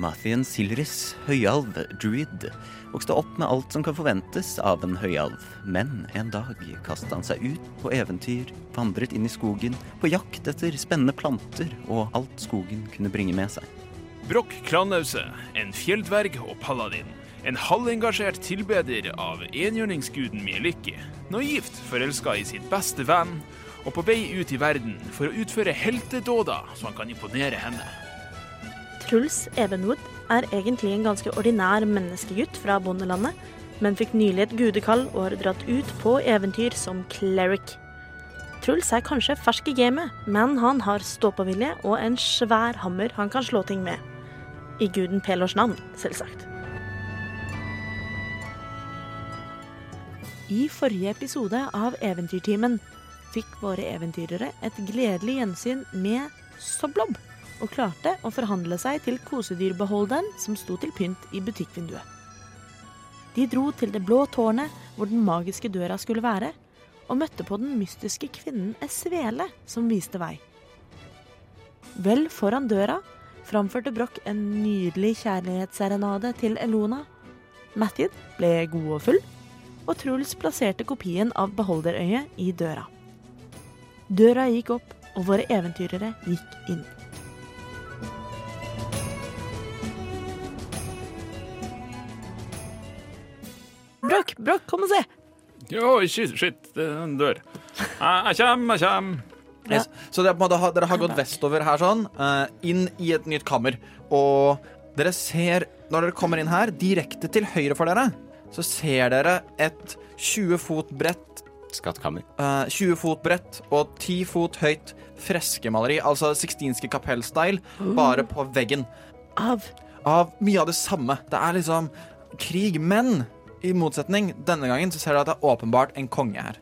Mathien Silris, høyalv, druid, vokste opp med alt som kan forventes av en høyalv. Men en dag kastet han seg ut på eventyr, vandret inn i skogen, på jakt etter spennende planter og alt skogen kunne bringe med seg. Brokk Klanause, en fjelldverg og paladin. En halvengasjert tilbeder av enhjørningsguden Mieliki. Naivt forelska i sitt beste venn, og på vei ut i verden for å utføre heltedåder så han kan imponere henne. Truls Evenwood er egentlig en ganske ordinær menneskegutt fra bondelandet, men fikk nylig et gudekall og har dratt ut på eventyr som cleric. Truls er kanskje fersk i gamet, men han har ståpåvilje og en svær hammer han kan slå ting med. I guden Pelors navn, selvsagt. I forrige episode av Eventyrtimen fikk våre eventyrere et gledelig gjensyn med Soblob, og klarte å forhandle seg til kosedyrbeholderen som sto til pynt i butikkvinduet. De dro til det blå tårnet hvor den magiske døra skulle være, og møtte på den mystiske kvinnen Esvele som viste vei. Vel foran døra framførte Broch en nydelig kjærlighetsserenade til Elona. Mathid ble god og full, og Truls plasserte kopien av beholderøyet i døra. Døra gikk opp, og våre eventyrere gikk inn. Broch, Broch, kom og se! Jo, ikke shit, den dør. Jeg, jeg kjem, jeg kjem. Ja. Yes. Så det er på en måte, ha- dere har gått vestover her sånn, eh, inn i et nytt kammer. Og dere ser, når dere kommer inn her, direkte til høyre for dere, så ser dere et 20 fot bredt Skattkammer. eh, 20 fot bredt og 10 fot høyt freskemaleri, altså Sixtinske kapell-style, bare på veggen. Av Av mye av det samme. Det er liksom krig, men i motsetning, denne gangen så ser du at det er åpenbart en konge her.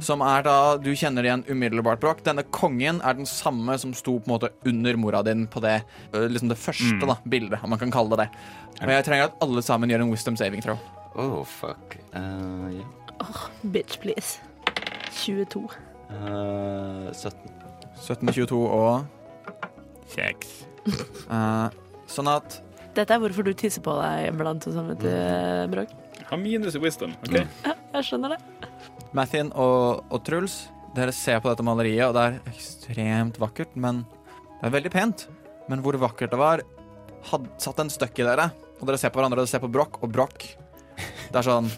Som er da, Du kjenner det igjen umiddelbart, Broch. Denne kongen er den samme som sto på en måte under mora din på det øh, liksom det første da, bildet, om man kan kalle det det. Og jeg trenger at alle sammen gjør en wisdom saving throw. Oh, fuck. Eh, ja. Bitch, please. 22. Eh, 17. 17 med 22 og Kjeks. øh, Sånn at Dette er hvorfor du tisser på deg iblant og sånn, vet du, Broch. Ha minus i wisdom, OK? Jeg skjønner det. Mathien og, og Truls, dere ser på dette maleriet, og det er ekstremt vakkert, men det er veldig pent. Men hvor vakkert det var, hadde satt en støkk i dere. Og dere ser på hverandre, og dere ser på Broch og Broch. Det er sånn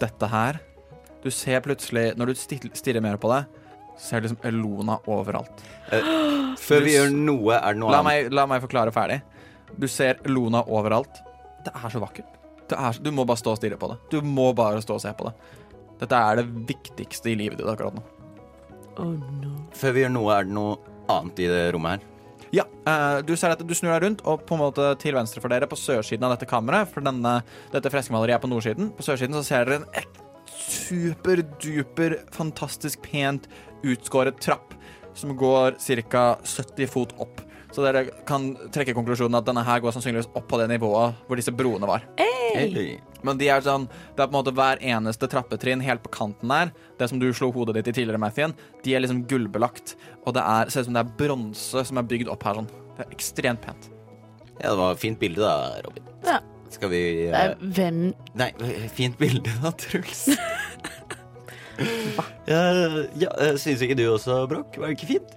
Dette her Du ser plutselig, når du stil- stirrer mer på det, ser du liksom Elona overalt. Ah, Før vi gjør noe, er det noe La meg, la meg forklare ferdig. Du ser Elona overalt. Det er så vakkert. Det er, så- du må bare stå og stirre på det. Du må bare stå og se på det. Dette er det viktigste i livet ditt akkurat nå. Oh no. Før vi gjør noe, er det noe annet i det rommet her. Ja, eh, du ser at du snur deg rundt, og på en måte til venstre for dere, på sørsiden av dette kammeret, for denne, dette freskamaleriet er på nordsiden, på sørsiden så ser dere en ek- superduper, fantastisk pent utskåret trapp, som går ca. 70 fot opp. Så dere kan trekke konklusjonen at denne her går sannsynligvis opp på det nivået hvor disse broene var. Hey. Men de er sånn, det er på en måte hver eneste trappetrinn helt på kanten der, det som du slo hodet ditt i tidligere, Mathien, de er liksom gullbelagt. Og det er, ser ut som det er bronse som er bygd opp her sånn. Det er ekstremt pent. Ja, det var et fint bilde da, Robin. Ja. Skal vi Det eh, er hvem Nei, eh, fint bilde da, Truls. ja, ja, eh, Syns ikke du også, Broch? Var det ikke fint?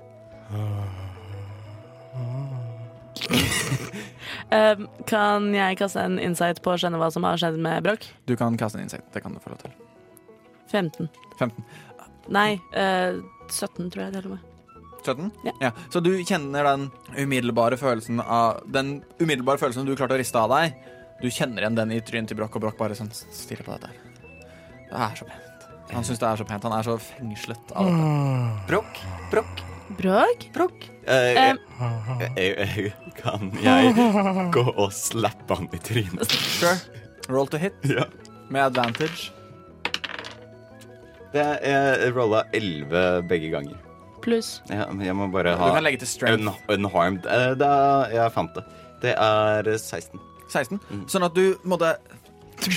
Ehm, Kan jeg kaste en insight på å skjønne hva som har skjedd med Broch? Du kan kaste en insekt, det kan du få lov til. 15. 15. Nei, eh, 17 tror jeg det er. 17? Ja. Så du kjenner den umiddelbare følelsen av Den umiddelbare følelsen du klarte å riste av deg. Du kjenner igjen den i trynet til Broch, og Broch bare sånn stirrer på dette her. Det er så pent. Han syns det er så pent. Han er så fengslet av dette. Broch? Broch? Broch? Broch? Eh, Em. eh, eh, kan jeg gå og slappe han i trynet? Sure. Roll to hit Ja. med advantage. Det er, jeg rolla 11 begge ganger. Pluss. Ja, men jeg må bare Du ha kan legge til strength. un unharmed. Eh, Da, jeg fant det. Det er 16. 16. Sånn at du måtte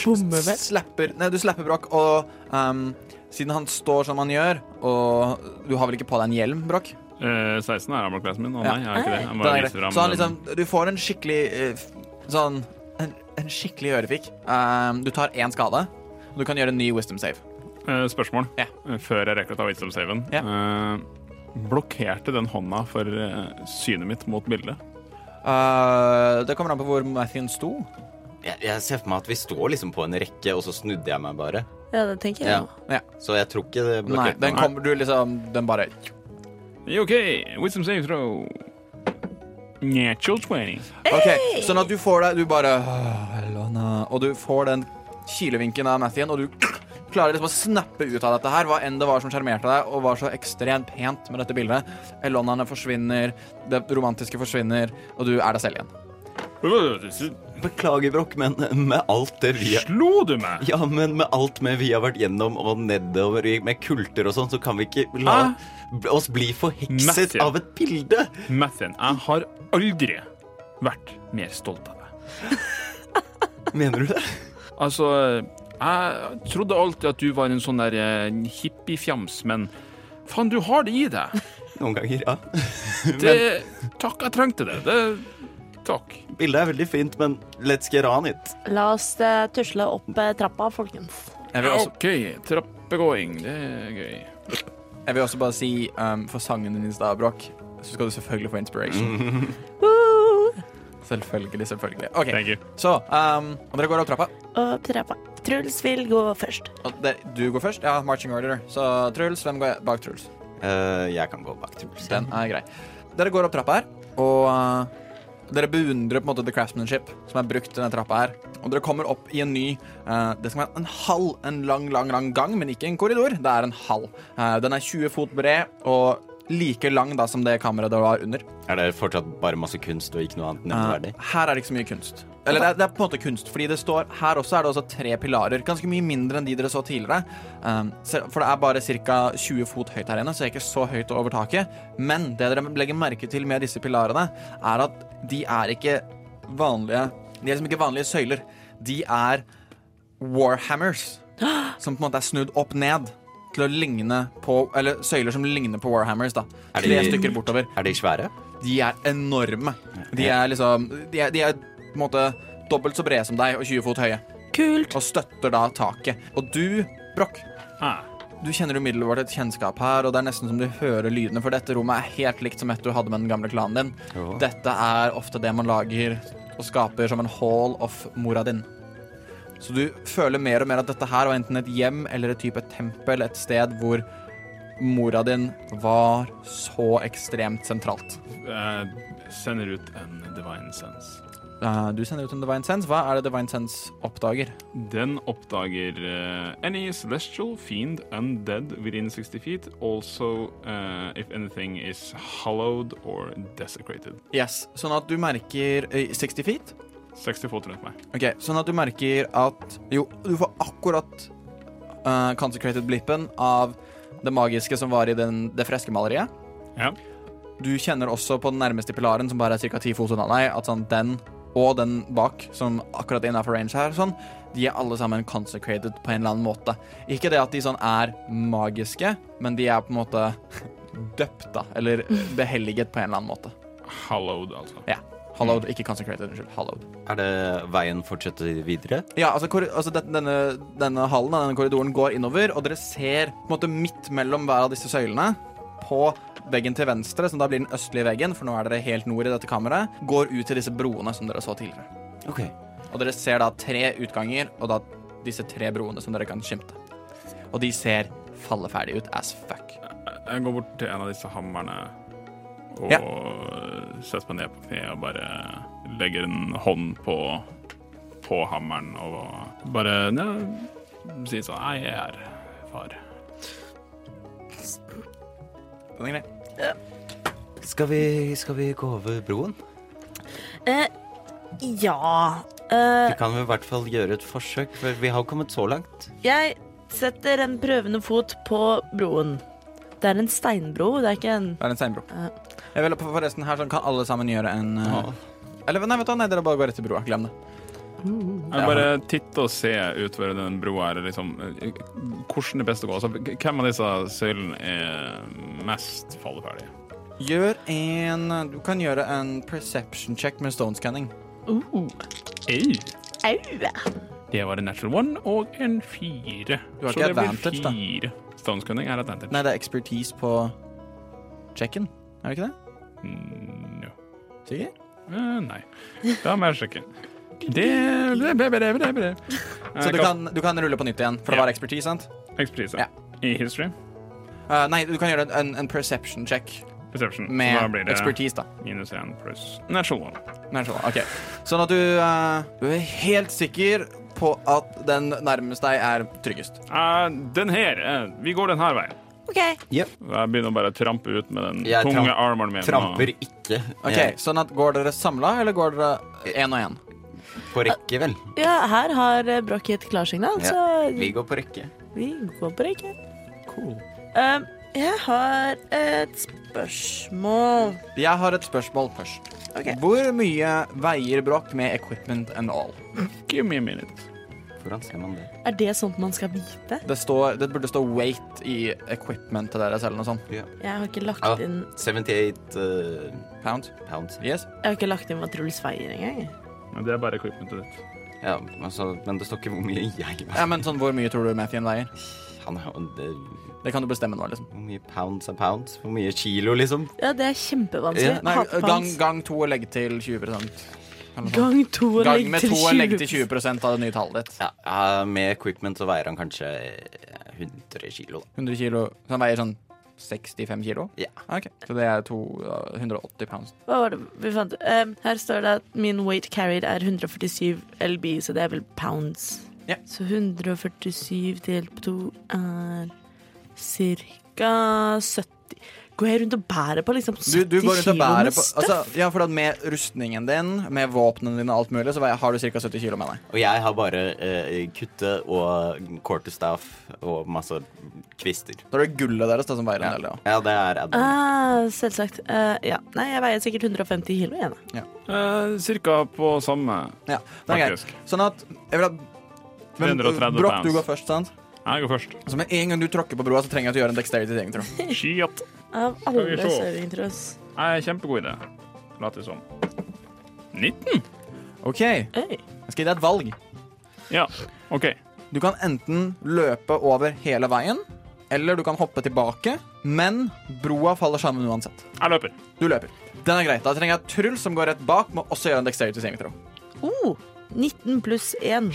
Bommer vel. slapper, nei, du slapper Broch, og ehm, siden han står som han gjør, og du har vel ikke på deg en hjelm, Broch? Eh, 16 er armor-classen min. Å Ja. nei, jeg er ikke det. Jeg Det bare er greit. viser fram Så han den. liksom, du får en skikkelig eh, f- sånn En, en skikkelig ørefik. Ehm, du tar én skade, og du kan gjøre en ny wisdom save. Eh, Spørsmål Ja. Eh, før jeg rekker å ta wisdom saven. Ja. Eh, blokkerte den hånda for eh, synet mitt mot bildet? Eh, det kommer an på hvor Mathien sto. Jeg, jeg ser for meg at vi står liksom på en rekke, og så snudde jeg meg bare. Ja, det tenker jeg. Ja. Ja. Så jeg tror ikke det Nei, blokkerte den meg. kommer du liksom Den bare OK, wisdom save throw. Natural 20. OK, sånn at du får deg Du bare «Åh, Elona», Og du får den kilevinken av Mathien, og du klarer liksom å snappe ut av dette her, hva enn det var som sjarmerte deg, og var så ekstremt pent med dette bildet. Elonaene forsvinner, det romantiske forsvinner, og du er deg selv igjen. Beklager, Brokk, men med alt det vi Slo du meg? Ja, men med alt med vi har vært gjennom og nedover i- med kulter og sånn, så kan vi ikke la b- oss bli forhekset Matthew. av et bilde. Mathien, jeg har aldri vært mer stolt av deg. Mener du det? Altså, jeg trodde alltid at du var en sånn der eh, hippiefjams, men faen, du har det i deg. Noen ganger, ja. Det, takk, jeg trengte det. det takk. Bildet er veldig fint, men let's get on it. La oss eh, tusle opp eh, trappa, folkens. Jeg vil også OK, trappegåing. Det er gøy. Jeg vil også bare si um, for sangen din i stad, Broch, så skal du selvfølgelig få inspiration. Mhm. Woo! Selvfølgelig, selvfølgelig. OK, Thank you. så um, og dere går opp trappa. Opp trappa. Truls vil gå først. Og det, du går først. Ja, marching order. Så Truls, hvem går bak Truls? Eh, jeg kan gå bak Truls. Den er grei. Dere går opp trappa her, og uh, dere beundrer på en måte the craftsmanship som er brukt i denne trappa her. Og dere kommer opp i en ny uh, Det skal være en hall. En lang, lang, lang gang, men ikke en korridor. Det er en hall. Uh, den er 20 fot bred og like lang da som det kammeret det var under. Er det fortsatt bare masse kunst og ikke noe annet nevneverdig? Eh, her er det ikke så mye kunst. Eller det er, det er på en måte kunst, fordi det står her også er det også tre pilarer. Ganske mye mindre enn de dere så tidligere. Um, se- for det er bare ca. 20 fot høyt her inne, så det er ikke så høyt over taket. Men det dere legger merke til med disse pilarene, er at de er ikke vanlige De er liksom ikke vanlige søyler. De er warhammers, som på en måte er snudd opp ned. Til å ligne på Eller søyler som ligner på Warhammers. da Er de- Tre stykker bortover. Er de svære? De er enorme. De er liksom De er, de er på en måte dobbelt så brede som deg og 20 fot høye. Kult. Og støtter da taket. Og du, Broch, Ah. du kjenner umiddelbart et kjennskap her, og det er nesten som du hører lydene, for dette rommet er helt likt som et du hadde med den gamle klanen din. Jo. Dette er ofte det man lager og skaper som en hall of mora din. Så du føler mer og mer at dette her var enten et hjem eller et type tempel, et sted hvor mora din var så ekstremt sentralt. Jeg eh, sender ut en divine sense. Eh, du sender ut en Divine Sense. Hva er det Divine Sense oppdager? Den oppdager eh, any celestial fiend undead within 60 feet. Also, eh, if anything is hallowed or desecrated. Yes, Sånn at du merker eh, 60 feet. 60 fot rundt meg. Ok, Sånn at du merker at Jo, du får akkurat eh, consecrated-blippen av det magiske som var i den, det freskemaleriet. Ja. Du kjenner også på den nærmeste pilaren, som bare er ca. 10 fot unna deg, at sånn den og den bak, som akkurat er innafor range her, sånn, de er alle sammen consecrated på en eller annen måte. Ikke det at de sånn er magiske, men de er på en måte døpt, da, eller behelliget på en eller annen måte. Hallowed, altså. Ja. Hallowed, ikke consecrated, unnskyld. Hallowed. Er det veien fortsetter videre? Ja, altså, korri- altså det- denne, denne hallen, denne korridoren går innover, og dere ser på en måte midt mellom hver av disse søylene på veggen til venstre, som da blir den østlige veggen, for nå er dere helt nord i dette kammeret, går ut til disse broene som dere så tidligere. Ok. Og dere ser da tre utganger, og da disse tre broene som dere kan skimte. Og de ser falleferdige ut as fuck. Jeg går bort til en av disse hammerne og Ja. setter meg ned på kne og bare legger en hånd på, på hammeren og bare ja, sier sånn Nei, jeg er far. Den er grei. Skal vi, skal vi gå over broen? Eh, ja Vi Eh, kan vel i hvert fall gjøre et forsøk, for vi har jo kommet så langt. jeg setter en prøvende fot på broen. Det er en steinbro, det er ikke en Det er en steinbro. Ja. Jeg vil forresten her sånn, Kan alle sammen gjøre en eh, Åh. Eller nei, vet du, hva, nei, dere bare går rett til broa. Glem det. Jeg bare titter og ser utover den broa her. Liksom, eh, hvordan er best å gå? Altså, h- hvem av disse søylene er mest falleferdig? Gjør en Du kan gjøre en perception check med stone scanning. Ei, Au! Uh. det var en natural one og en fire. Du har Så ikke det blir advantage, da. fire. Stonescunning er advantage. Nei, det er expertise på checken. Er det ikke det? Mm, no. Sikker? Eh, nei. Da må jeg sjekke. Det ble, ble, ble, ble, Eh, ble. Så du kan, du kan rulle på nytt igjen, for det Ja. var expertise, sant? Ekspertise. Ja. I history. Eh, nei, du kan gjøre en, en perception check Perception. med da blir det expertise, da. minus én pluss natural one. Nei, sånn, ok. sånn at du, eh, du er helt sikker på at den nærmest deg er tryggest. Eh, den her. eh, vi går den her veien. OK. Jeg begynner bare å trampe ut med den Jeg tunge tramp- armoren min. og- Tramper ikke Ok, eh, sånn at Går dere samla, eller går dere én og én? på rekke, vel. Ja, her har eh, Broch gitt klarsignal, Ja. så Altså, Vi går på rekke. vi går på det ikke. Eh, jeg har et spørsmål. Jeg har et spørsmål først. Ok. Hvor mye veier Broch med equipment and all? Give me a minute. Hvordan ser man det? Er det sånt man skal vite? Det, står, det burde stå weight i equipmentet deres eller noe sånt. Jeg har ikke lagt Ja. inn 78 eh, Pound? pounds. Yes? Jeg har ikke lagt inn hva Truls veier engang. Men Det er bare equipmentet ditt. Ja, altså, men det står ikke hvor mye jeg Ja, men sånn, Hvor mye tror du Mathien veier? Han er jo det- Det kan du bestemme nå. liksom Hvor mye pounds er pounds? Hvor mye kilo, liksom? Ja, det er kjempevanskelig. Ja, Nei, Hater på gang, hans. gang to og legg til 20 eller noe sånt. gang to og Gang med legg til to og legg 20. til 20 av det nye tallet ditt. Ja, ja, Med equipment så veier han kanskje eh, 100 kilo, da. 100 kilo Så han veier sånn 65 kilo? Ja. Ok, Så det er to, uh, 180 pounds. Hva var det vi fant? Eh, her står det at min weight carried er 147 LB, så det er vel pounds. Ja. Så 147 delt på to er ca. 70 Går jeg rundt og bærer på liksom 70 Du, du går rundt og kilo bærer med på støff? altså, Ja, for da med rustningen din, med våpnene dine og alt mulig, så veier- har du ca. 70 kilo med deg. Og jeg har bare eh, kutte og quarterstaff og masse kvister. Så er det gullet deres da, som veier en Ja, del. Ja. ja det er Adam. ah, selvsagt. Eh, ja. Nei, jeg veier sikkert 150 kilo igjen. da. Eh, cirka på samme. Ja, det er greit. Faktisk. Sånn at jeg vil at men, 330 Broch, du pounds. går først, sant? Jeg går først. Så med en gang du tråkker på broa, så trenger jeg at du gjør en dexterity ting, tror jeg. Shit. Av vi alle se. serving trolls. Jeg er kjempegod i det. Later som. 19? OK, jeg Oi. skal gi deg et valg. Ja, OK. Du kan enten løpe over hele veien, eller du kan hoppe tilbake, men broa faller sammen uansett. Jeg løper. Du løper. Den er greit. Da trenger jeg Truls, som går rett bak, må også gjøre en dexterity saving throw. Oh, 19 pluss 1.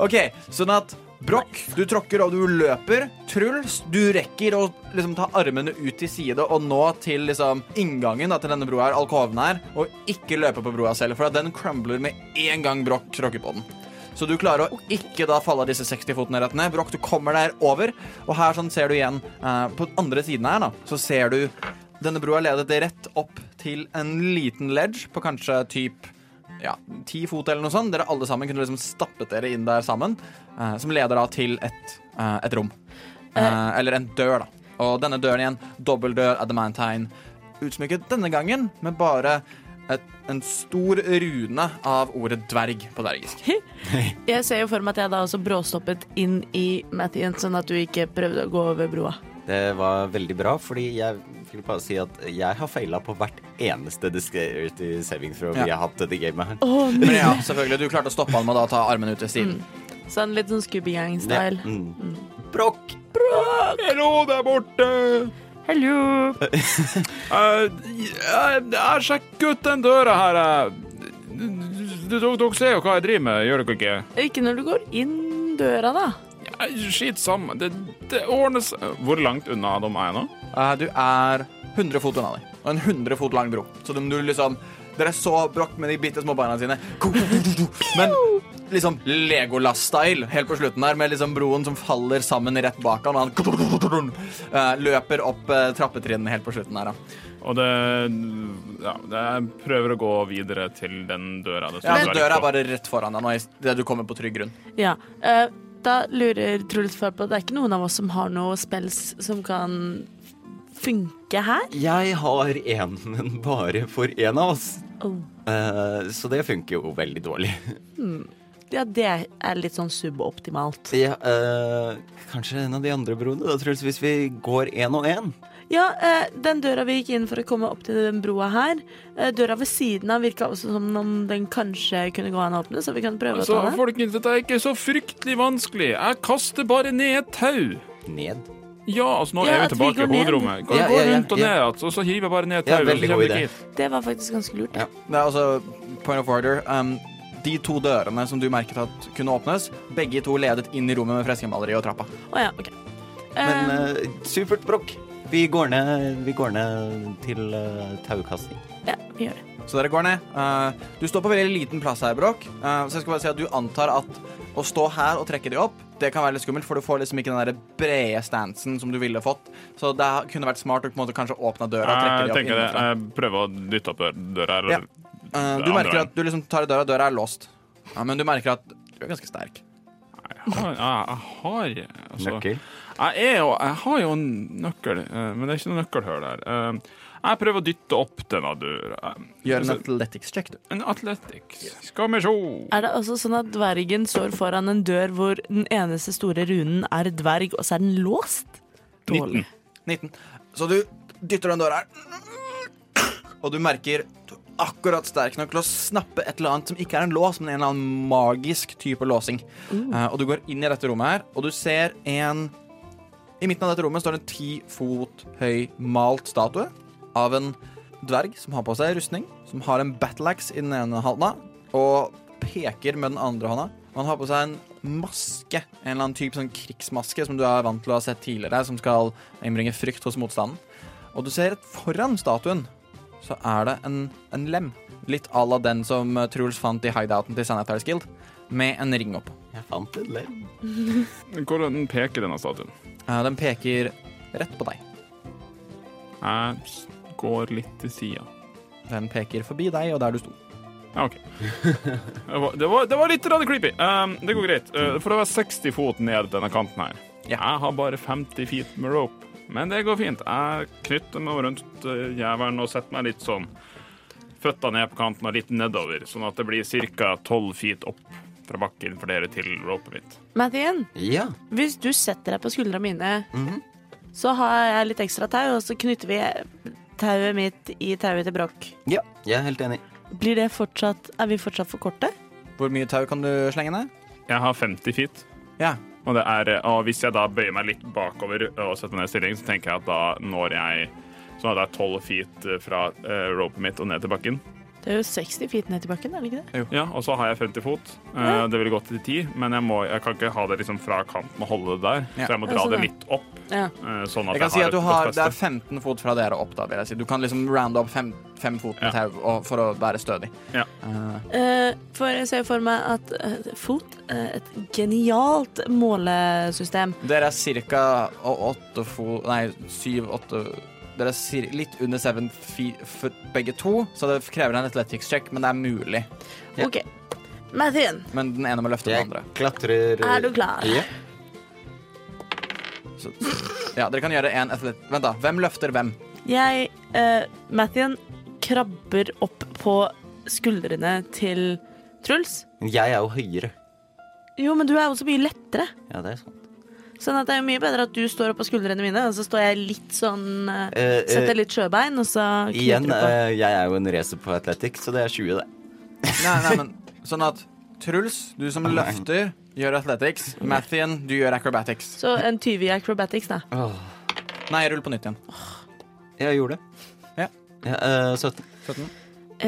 OK, sånn at Broch, du tråkker og du løper. Truls, du rekker å liksom ta armene ut til side og nå til liksom inngangen da, til denne broa her, alkoven her, og ikke løpe på broa selv, for at den crumbler med en gang Broch tråkker på den. Så du klarer å ikke da falle disse 60 fotene rett ned. Broch, du kommer der over, og her sånn ser du igjen eh, På den andre siden her, da, så ser du denne broa ledet rett opp til en liten ledge på kanskje typ ja, ti fot eller noe sånt. Dere alle sammen kunne liksom stappet dere inn der sammen. eh, som leder da til et, eh, et rom. Eh, eller en dør, da. Og denne døren igjen, dobbeltdør, adamantine. Utsmykket denne gangen med bare et, en stor rune av ordet dverg på dvergisk. Jeg ser jo for meg at jeg da også bråstoppet inn i Mattien, sånn at du ikke prøvde å gå over broa. Det var veldig bra, fordi jeg vil bare si at jeg har feila på hvert eneste eh, Discarity saving throw vi Ja. har hatt i det gamet her. Åh, Men ja, selvfølgelig, du klarte å stoppe han med å da ta armen ut til siden. sånn litt sånn Scooby-Gang-style. Mm. Brokk! Hallo der borte! Hello! Eh, jeg, jeg sjekker ut den døra her. eh. D- d- Dere dere ser jo hva jeg driver med, gjør dere ikke? Ikke når du går inn døra, da. Jeg, skit sammen. Det, det ordner seg. Hvor langt unna de er jeg nå? Eh, du er 100 fot unna dem, og en 100 fot lang bro. Så du, du liksom Dere så Broch med de bitte små beina sine. Men liksom Legolas-style helt på slutten der, med liksom broen som faller sammen rett bak han, og han eh, løper opp eh, trappetrinnene helt på slutten der, da. Og det Ja, jeg prøver å gå videre til den døra. Det står Ja, så dverg Døra er på. bare rett foran deg nå, idet du kommer på trygg grunn. Ja. eh, da lurer Truls far på at det er ikke noen av oss som har noe spells som kan funke her. Jeg har én, men bare for én av oss. Oh. Eh, så det funker jo veldig dårlig. Ja, det er litt sånn suboptimalt. Ja, eh, kanskje en av de andre broene, da, Truls, hvis vi går én og én? Ja, eh, den døra vi gikk inn for å komme opp til den broa her, eh, døra ved siden av virka også som om den kanskje kunne gå an å åpne, så vi kan prøve Altså, å ta den. folkens, dette er ikke så fryktelig vanskelig. Jeg kaster bare ned et tau. Ned. Ja, altså, nå Ja, er at vi vi tilbake går i ned. hovedrommet. Gå Ja, gå ja, ja, rundt og ja. ned igjen, altså? og så hiver jeg bare ned et Ja, tau. og så veldig kommer god vi idé. ikke hit. Det var faktisk ganske lurt. Ja. Det er altså point of order. Um, de to dørene som du merket at kunne åpnes, begge to ledet inn i rommet med freskemaleri og trappa. Å ja, OK. Men Eh, eh, supert, Brokk. Vi går ned, vi går ned til eh, taukasting. ja, vi gjør det. Så dere går ned. Eh, du står på veldig liten plass her, Bråk. Eh, så jeg skal bare si at du antar at å stå her og trekke de opp, det kan være litt skummelt, for du får liksom ikke den der brede stansen som du ville fått. Så det kunne vært smart å på en måte kanskje åpne døra og trekke Ah, Jeg de opp Eh, tenker det. innenfra. Jeg prøver å dytte opp dør- døra her. Ja. og- Eh, du det andre merker at du liksom tar i døra, døra er låst. Ja, men du merker at du er ganske sterk. Jeg har, jeg, jeg har altså, Nøkkel. Jeg, er jo, jeg har jo en nøkkel, eh, men det er ikke noe nøkkelhull der. Eh, Jeg prøver å dytte opp denne døra. Gjør Altså- en athletics check, du. Eh, En athletics. Skal vi sjå. Er det også sånn at dvergen står foran en dør hvor den eneste store runen er dverg, og så er den låst? Dårlig. 19. Så du dytter den døra her, og du merker du er akkurat sterk nok til å snappe et eller annet som ikke er en lås, men en eller annen magisk type låsing. Eh, og du går inn i dette rommet her, og du ser en I midten av dette rommet står det en ti fot høy malt statue av en dverg som har på seg rustning, som har en battleaxe i den ene hånda og peker med den andre hånda. Og han har på seg en maske, en eller annen type sånn krigsmaske som du er vant til å ha sett tidligere, som skal innbringe frykt hos motstanden. Og du ser at foran statuen så er det en, en lem. Litt à la den som eh, Truls fant i hideouten til Sanitarisk Guild, med en ring oppå. Jeg fant en lem. Hvordan peker denne statuen? Eh, Den peker rett på deg. Jeg s- går litt til sida. Den peker forbi deg og der du sto. Ja, OK. Det var, det var, det var litt rann creepy. Um, det går greit, uh, for det var 60 fot ned denne kanten her. Ja. Jeg har bare 50 feet med rope, men det går fint. Jeg knytter meg rundt uh, jævelen og setter meg litt sånn føtta ned på kanten og litt nedover, sånn at det blir ca. 12 feet opp fra bakken for dere til ropet mitt. Mathien, Ja. hvis du setter deg på skuldra mine, så har jeg litt ekstra tau, og så knytter vi tauet mitt i tauet til Broch. ja. Jeg er helt enig. Blir det fortsatt Er vi fortsatt for korte? Hvor mye tau kan du slenge ned? Jeg har 50 feet. Ja. Og, det er, uh, og hvis jeg da bøyer meg litt bakover og setter meg ned i stilling, så tenker jeg at da når jeg Sånn at det er 12 feet fra uh, ropet mitt og ned til bakken. Det er jo 60 feet ned til bakken, er det ikke det? Ja, og så har jeg 50 fot. Eh, det ville gått til 10, men jeg, må, jeg kan ikke ha det liksom fra kanten og holde det der. Ja. Så jeg må Ja, dra sånn, det ja. litt opp. Ja. eh, sånn at Jeg kan si at du et har, godt Det er feste. 15 fot fra dere opp, da, vil jeg si. Du kan liksom rounde opp fem, fem fot med Ja. tau og- for å være stødig. Ja. Eh, Eh, for jeg ser for meg at eh, fot eh, Et genialt målesystem. Dere er ca. åtte fot Nei, syv-åtte Dere er sir litt under seven feet foot begge to, så det krever en athletics check, men det er mulig. Ja. OK. Mathien, Men den ene må løfte den andre. Jeg klatrer er du klar? Ja. Så, ja, dere kan gjøre en athlet... Vent, da. Hvem løfter hvem? Jeg, eh, Mathien, krabber opp på skuldrene til Truls. Jeg er jo høyere. Jo, men du er jo så mye lettere. Ja, det er sant. Sånn at det er jo mye bedre at du står opp på skuldrene mine, og så står jeg litt sånn eh, Eh, eh, Setter litt sjøbein, og så knyter Igjen, du på. eh, jeg er jo en racer på Athletics, så det er 20, det. Nei, nei, men Sånn at Truls, du som løfter, gjør athletics. Mathien, du gjør acrobatics. Så en 20 i acrobatics, da. Nei, rull på nytt igjen. Jeg gjorde det. Ja. Ja, eh, 17. 17.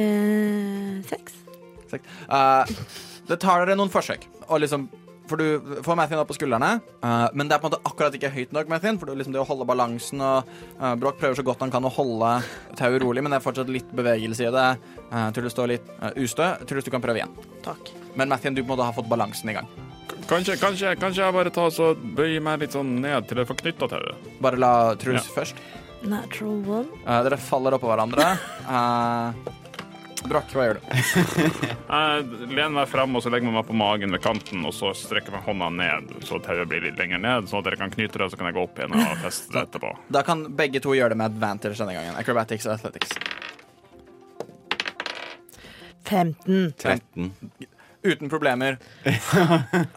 Eh, seks. Sekt. Eh, det tar dere noen forsøk. Og liksom, for du får Mathien opp på skuldrene, eh, men det er på en måte akkurat ikke høyt nok. Mathien, for det, er liksom det å holde balansen og uh, Broch prøver så godt han kan å holde tauet rolig, men det er fortsatt litt bevegelse i det. Uh, Truls står litt eh, ustø. Truls, du kan prøve igjen. Takk. Men Mathien, du på en måte har fått balansen i gang. Kanskje, kanskje, kanskje jeg bare tar så bøyer meg litt sånn ned til jeg får knytta tauet. Bare la Truls først. Natural one. Eh, dere faller oppå hverandre. Eh, Brakk, hva gjør du? Jeg lener meg frem og så legger jeg meg på magen ved kanten og så strekker jeg hånda ned, så tauet blir litt lenger ned, sånn at dere kan knyte det, så kan jeg gå opp igjen og feste det etterpå. Da kan begge to gjøre det med advantage denne gangen. Acrobatics og athletics. 15. 13. Uten problemer.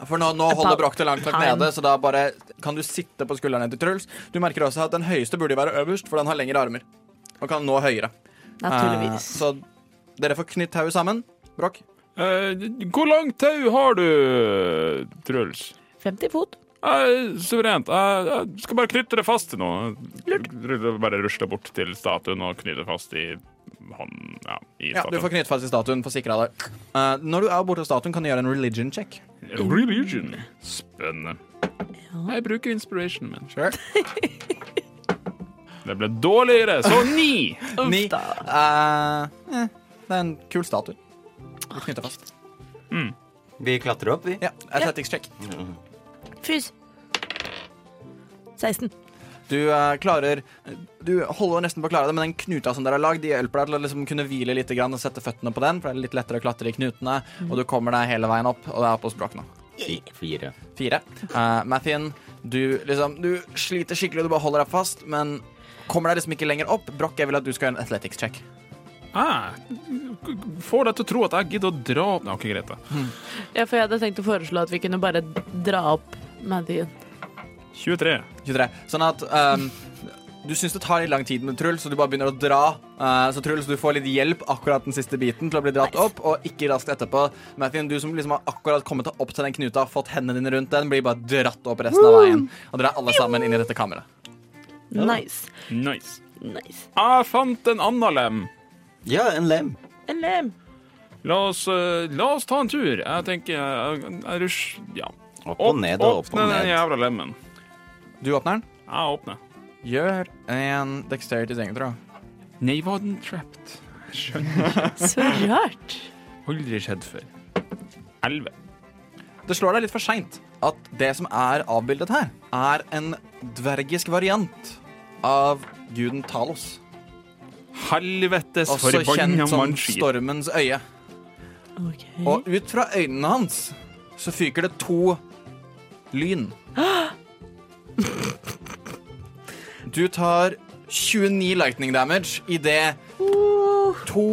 For nå, nå holder Broch det langt nok nede, så da bare kan du sitte på skuldrene til Truls. Du merker også at den høyeste burde jo være øverst, for den har lengre armer. Og kan nå høyere. Eh, Naturligvis. så dere får knytt tauet sammen. Broch. Eh, hvor langt tau har du, Truls? 50 fot. Eh, suverent. Jeg, jeg skal bare knytte det fast til noe. Lurt. Bare rusle bort til statuen og knyte det fast i hånden. Ja, i Ja, du får statuen. knytt fast i statuen. Få sikra deg. Eh, når du er borte hos statuen, kan du gjøre en religion check. Religion. Spennende. Jeg bruker inspiration min. Sure. Det ble dårligere, så ni! Ni. Eh, eh, det er en kul statue. Du knytter fast. Vi klatrer opp, vi. Ja, athletics check. Fys. 16. Du eh, klarer Du holder nesten på å klare det, men den knuta som dere har lagd, de hjelper deg til å liksom kunne hvile litt grann og sette føttene på den, for det er litt lettere å klatre i knutene, og du kommer deg hele veien opp, og det er oppe hos Broch nå. Fire. Fire. Uh, Mathien, du liksom Du sliter skikkelig, du bare holder deg fast, men kommer deg liksom ikke lenger opp. Broch, jeg vil at du skal gjøre en athletics check. Jeg Ah, får deg til å tro at jeg gidder å dra opp Nei, OK, greit, da. Ja, for jeg hadde tenkt å foreslå at vi kunne bare dra opp Maddien. 23. 23. Sånn at ehm, Du syns det tar litt lang tid med Truls, så du bare begynner å dra. Eh, så Truls, du får litt hjelp akkurat den siste biten til å bli dratt opp, og ikke raskt etterpå. Mathien, du som liksom har akkurat kommet opp til den knuta, fått hendene dine rundt den, blir bare dratt opp resten av veien. Og dere er alle sammen inn i dette kammeret. Nice. Nice. nice. Jeg fant en annen lem. Ja, en lem. En lem. La oss, eh, la oss ta en tur. Jeg tenker eh, Jeg, jeg, jeg rusj- Ja. Opp og ned og opp Åpne og den ned. jævla lemmen. Du åpner den. Jeg åpner. Gjør en dexterity saving, tror jeg. Nei, var den trapped? Så rart. Aldri skjedd før. Elleve. Det slår deg litt for seint at det som er avbildet her, er en dvergisk variant av guden Talos. Helvetes Også forbanna kjent som mannskit. Stormens øye. Ok. Og ut fra øynene hans så fyker det to lyn. Du tar 29 lightning damage idet to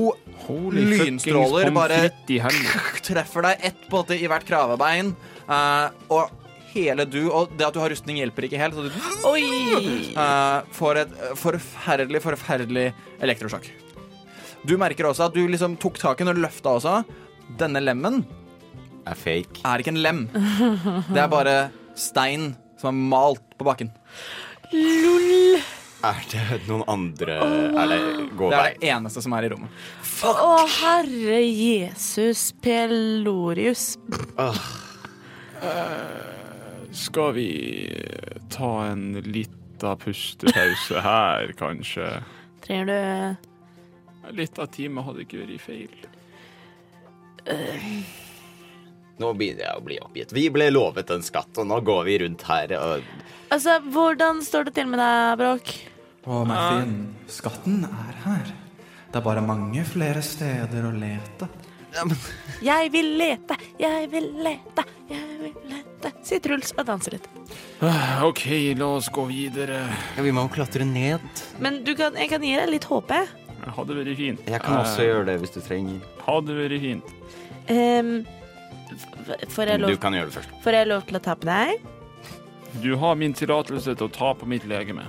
Holy lynstråler fuckings bare- pommes frites i helvete. treffer deg ett på en måte i hvert kravebein. eh, og hele du Og det at du har rustning, hjelper ikke helt. Så du Oi! eh, får et eh, forferdelig, forferdelig elektrosjokk. Du merker også at du liksom tok tak i den og løfta også. Denne lemmen Er fake. er ikke en lem. Det er bare stein som er malt på bakken. Lol. Er det noen andre Er det gå Det vei? er det eneste som er i rommet. Å, herre Jesus Pelorius. Skal vi eh, ta en lita pustepause her, kanskje? Trenger Litt av time hadde ikke vært feil. Nå begynner jeg å bli oppgitt. Vi ble lovet en skatt, og nå går vi rundt her og du Altså, hvordan står det til med deg, Bråk? Å, Martin, skatten er her. Det er bare mange flere steder å lete. Jeg vil lete, jeg vil lete, jeg vil lete, sier Truls og danser litt. Ah, OK, la oss gå videre. ja, Vi må jo klatre ned. Men du kan, jeg kan gi deg litt håp. jeg. Det hadde vært fint. Jeg kan Eh. også gjøre det hvis du trenger. Hadde vært fint. Ehm, f- får, jeg Du lov, kan gjøre det først. får jeg lov til å ta på deg? Du har min tillatelse til å ta på mitt legeme.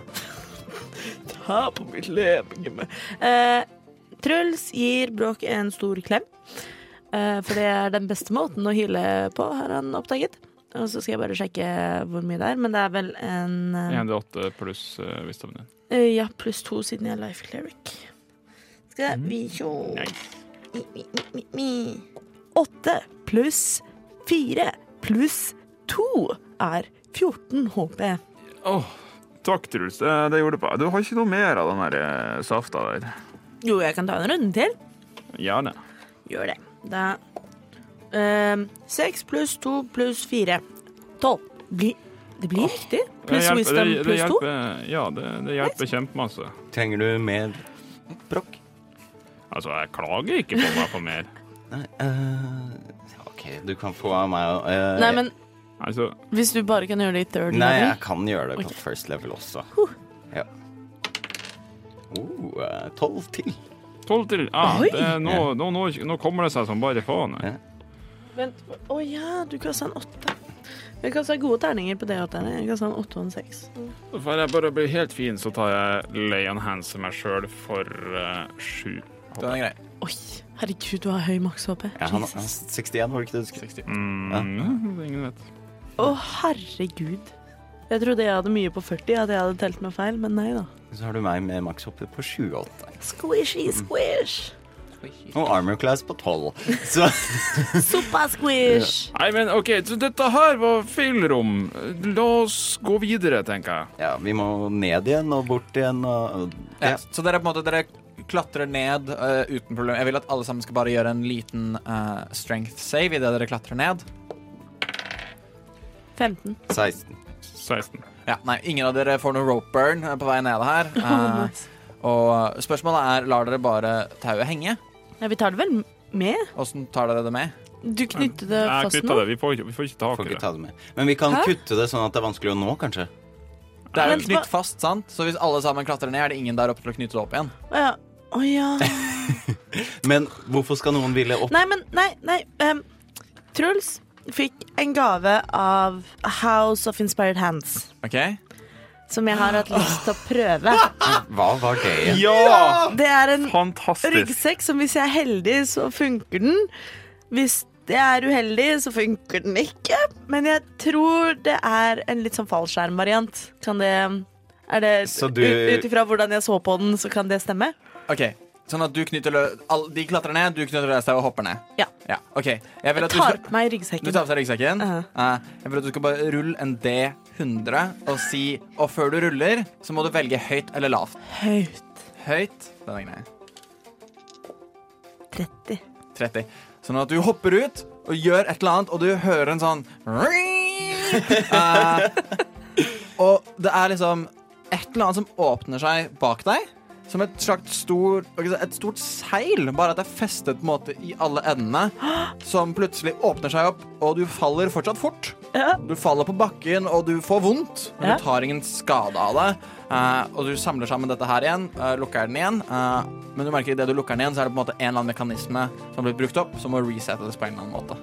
Ta på mitt legeme. Eh, Truls gir Bråk en stor klem. Eh, for det er den beste måten å hyle på, har han oppdaget. Og så skal jeg bare sjekke hvor mye det er, men det er vel en eh, 1D8 pluss uh, visdommen din. eh, Ja, pluss to siden jeg er life cleric. Skal vi sjå Mi, mi, mi, mi, mi. Åtte pluss fire pluss to er 14 HP. Åh, takk, Truls. Det, det gjorde det bra. Du har ikke noe mer av den der eh, safta der? Jo, jeg kan ta en runde til. Gjerne. Gjør det. Da Ehm, Seks pluss to pluss fire. Tolv. Bli Det blir riktig. Det Pluss hjelper- wisdom det- det pluss to. hjelper- Ja, det, det hjelper kjempemasse. Trenger du mer brokk? Altså, jeg klager ikke på meg på mer. Nei, eh, OK, du kan få av meg eh, Nei, men Altså, hvis du bare kan gjøre det i third Nei, jeg level kan gjøre det på Ok. first level også. Ja. Oh, eh, Tolv til. 12 til ja, det, nå, nå, nå, nå kommer det seg som bare faen. Ja. Vent. Å ja, du kasta en åtte. Jeg kasta gode terninger på D8-erne. Jeg kasta en åtte og en seks. Så får jeg bare bli helt fin, så tar jeg lay on hands meg sjøl for eh, sju. Den er grei. Oi, herregud, du har høy maks, HP. Ja, han, han, Jesus. 61, var det ikke det du skulle? 60. Mm, ingen vet. Å, herregud. Jeg trodde jeg hadde mye på 40, at jeg hadde telt meg feil, men nei da. Så har du meg med makshoppet på 28. Squishy squish. Og armor class på 12. Så Mm. Suppa squish. Nei, men OK, så dette her var feilrom. La oss gå videre, tenker jeg. ja, vi må ned igjen og bort igjen og Ja. Så dere, på en måte, dere klatrer ned eh, uten problem. Jeg vil at alle sammen skal bare gjøre en liten eh, strength save idet dere klatrer ned. 15. 16. 16. Ja, nei, ingen av dere får noe rope burn eh, på vei ned her. Eh, og spørsmålet er, lar dere bare tauet henge? Ja, vi tar det vel med? Åssen tar dere det med? Du knytter det Jeg fast knytta nå? det. Vi får, ikke- vi får ikke tak Får i ikke det. ta det med. Men vi kan Hæ? kutte det sånn at det er vanskelig å nå, kanskje. Det er jo Vent, hva- knytt fast, sant? Så hvis alle sammen klatrer ned, er det ingen der oppe til å knytte det opp igjen. Å ja. Å ja. Men hvorfor skal noen ville opp? Nei, men Nei, nei. em, Truls fikk en gave av House of Inspired Hands. OK? Som jeg har hatt lyst til å prøve. Hva var det igjen? Ja! Det er en Fantastisk. ryggsekk som hvis jeg er heldig, så funker den. Hvis jeg er uheldig, så funker den ikke. Men jeg tror det er en litt sånn fallskjermvariant. Kan det Er det Så du- ut- Ut ifra hvordan jeg så på den, så kan det stemme? ok Sånn at du knytter lø... all- De klatrer ned, du knytter løs deg og hopper ned. Ja. ja. OK. Jeg vil Jeg at du skal tar på meg Du ryggsekken. tar på deg ryggsekken. Uh-huh. Eh, jeg vil at du skal bare rulle en D100 og si Og før du ruller, så må du velge høyt eller lavt. Høyt. Høyt Den er grei. 30. 30. Sånn at du hopper ut og gjør et eller annet, og du hører en sånn Eh, Og det er liksom et eller annet som åpner seg bak deg. Som et slags stor, et stort seil, bare at det er festet på en måte i alle endene. Som plutselig åpner seg opp, og du faller fortsatt fort. Ja. Du faller på bakken, og du får vondt, men Ja. du tar ingen skade av det. Eh, og du samler sammen dette her igjen, eh, lukker den igjen. eh, men du merker idet du lukker den igjen, så er det på en måte en eller annen mekanisme som har blitt brukt opp, som må resettes på en eller annen måte.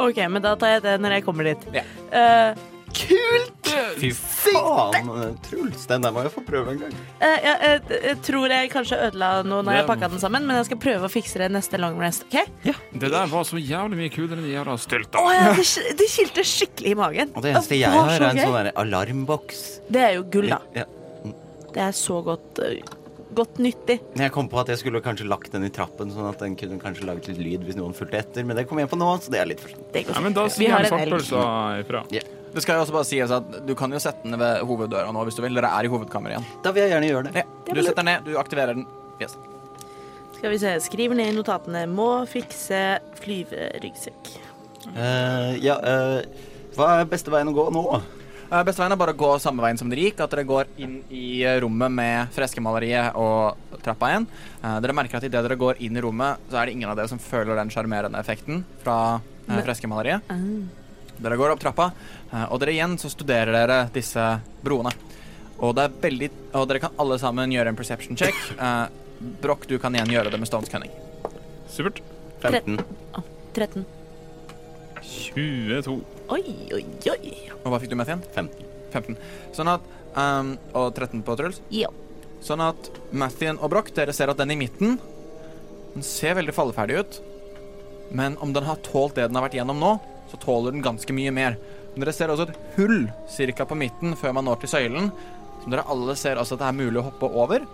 OK, men da tar jeg det når jeg kommer dit. Ja. Eh, kult! Fy faen, eh, Truls. Den der må jeg få prøve en gang. Eh, jeg, jeg, jeg tror jeg kanskje ødela noe når jeg Det- pakka den sammen, men jeg skal prøve å fikse det neste long rest. OK? Det der var så jævlig mye kulere enn de jævla stylta. Å, ja, det, sk- det kilte skikkelig i magen. Og det eneste jeg Å, har, er så en gøy. sånn der alarmboks. Det er jo gull, da. Ja. Det er så godt, eh, godt nyttig. Men Jeg kom på at jeg skulle kanskje lagt den i trappen, sånn at den kunne kanskje laget litt lyd hvis noen fulgte etter, men det kom jeg på nå, så det er litt for sent. Det går Ja, fint. men da Vi sier har han en elg. svartpølsa ifra. Det skal jo også bare sies at Du kan jo sette den ved hoveddøra nå hvis du vil. Dere er i hovedkammeret igjen. Da vil jeg gjerne gjøre det. Ja. Du setter den ned, du aktiverer den. Yes. Skal vi se. Skriver ned i notatene. Må fikse flyveryggsekk. Eh, ja, eh, hva er beste veien å gå nå? Eh, Beste veien er bare å gå samme veien som dere gikk. At dere går inn i eh, rommet med freskemaleriet og trappa igjen. Eh, Dere merker at idet dere går inn i rommet, så er det ingen av dere som føler den sjarmerende effekten fra eh, Men- freskemaleriet. Ah. Dere går opp trappa, eh, og dere igjen så studerer dere disse broene. Og, det er veldig, og dere kan alle sammen gjøre en perception check. Eh, Broch, du kan igjen gjøre det med Stones Cunning. Supert. 15. 13. 22. Oi, oi, oi. Og hva fikk du med igjen? 15. 15. Sånn at ehm, Og 13 på Truls. Ja. Sånn at Mathien og Broch, dere ser at den i midten Den ser veldig falleferdig ut. Men om den har tålt det den har vært gjennom nå, så tåler den ganske mye mer. Men dere ser også et hull cirka på midten før man når til søylen, som dere alle ser også at det er mulig å hoppe over.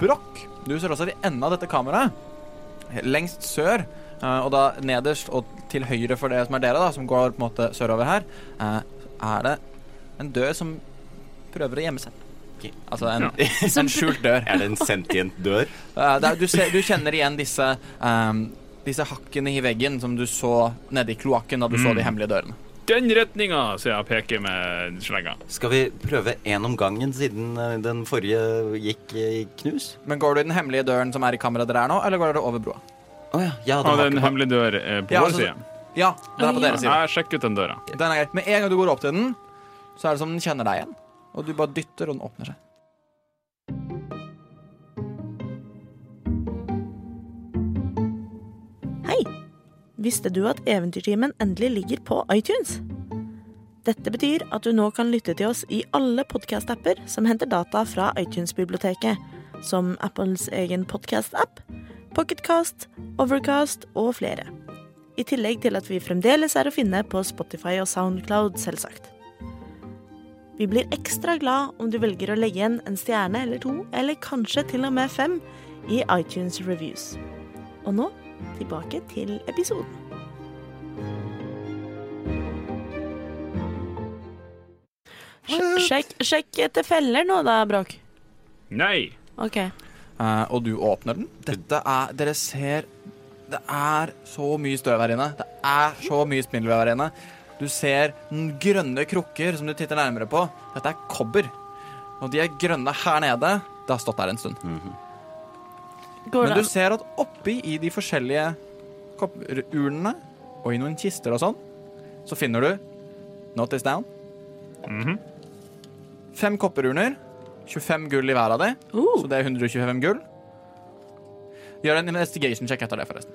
Broch, du ser også i enden av dette kameraet, lengst sør, eh, og da nederst og til høyre for det som er dere, da, som går på en måte sørover her, eh, er det en dør som prøver å gjemme seg. Altså en, en skjult dør. Er det en sentient dør? Eh, det er- du, ser, du kjenner igjen disse, ehm, disse hakkene i veggen som du så nede i kloakken da du så de hemmelige dørene. den retninga, sier jeg og peker med slegga. Skal vi prøve én om gangen, siden eh, den forrige gikk i knus? Men går du i den hemmelige døren som er i kammeret dere er nå, eller går dere over broa? Å ja. ja den Og det er var en ikke hemmelig dør eh, på Ja, vår altså, side. Ja, den er på deres side. Jeg sjekker ut den døra. Den er greit. Med en gang du går opp til den, så er det som den kjenner deg igjen. Og du bare dytter, og den åpner seg. Visste du at Eventyrtimen endelig ligger på iTunes? Dette betyr at du nå kan lytte til oss i alle podkast-apper som henter data fra iTunes-biblioteket, som Apples egen podkast-app, Pocketcast, Overcast og flere. I tillegg til at vi fremdeles er å finne på Spotify og Soundcloud, selvsagt. Vi blir ekstra glad om du velger å legge igjen en stjerne eller to, eller kanskje til og med fem, i iTunes Reviews. Og nå tilbake til episoden. Sj- Sjekk, sjekk etter feller nå da, Bråk. Nei! Ok. Eh, og du åpner den. Dette er Dere ser Det er så mye støv her inne. Det er så mye spindelvev her inne. Du ser den grønne krukker som du titter nærmere på. Dette er kobber. Og de er grønne her nede. Det har stått der en stund. Går Men det du ser at oppi i de forskjellige koppurnene og i noen kister og sånn, så finner du Not this down. Fem kopperurner. 25 gull i hver av de, Oh. så det er 125 gull. Gjør en investigation check etter det, forresten.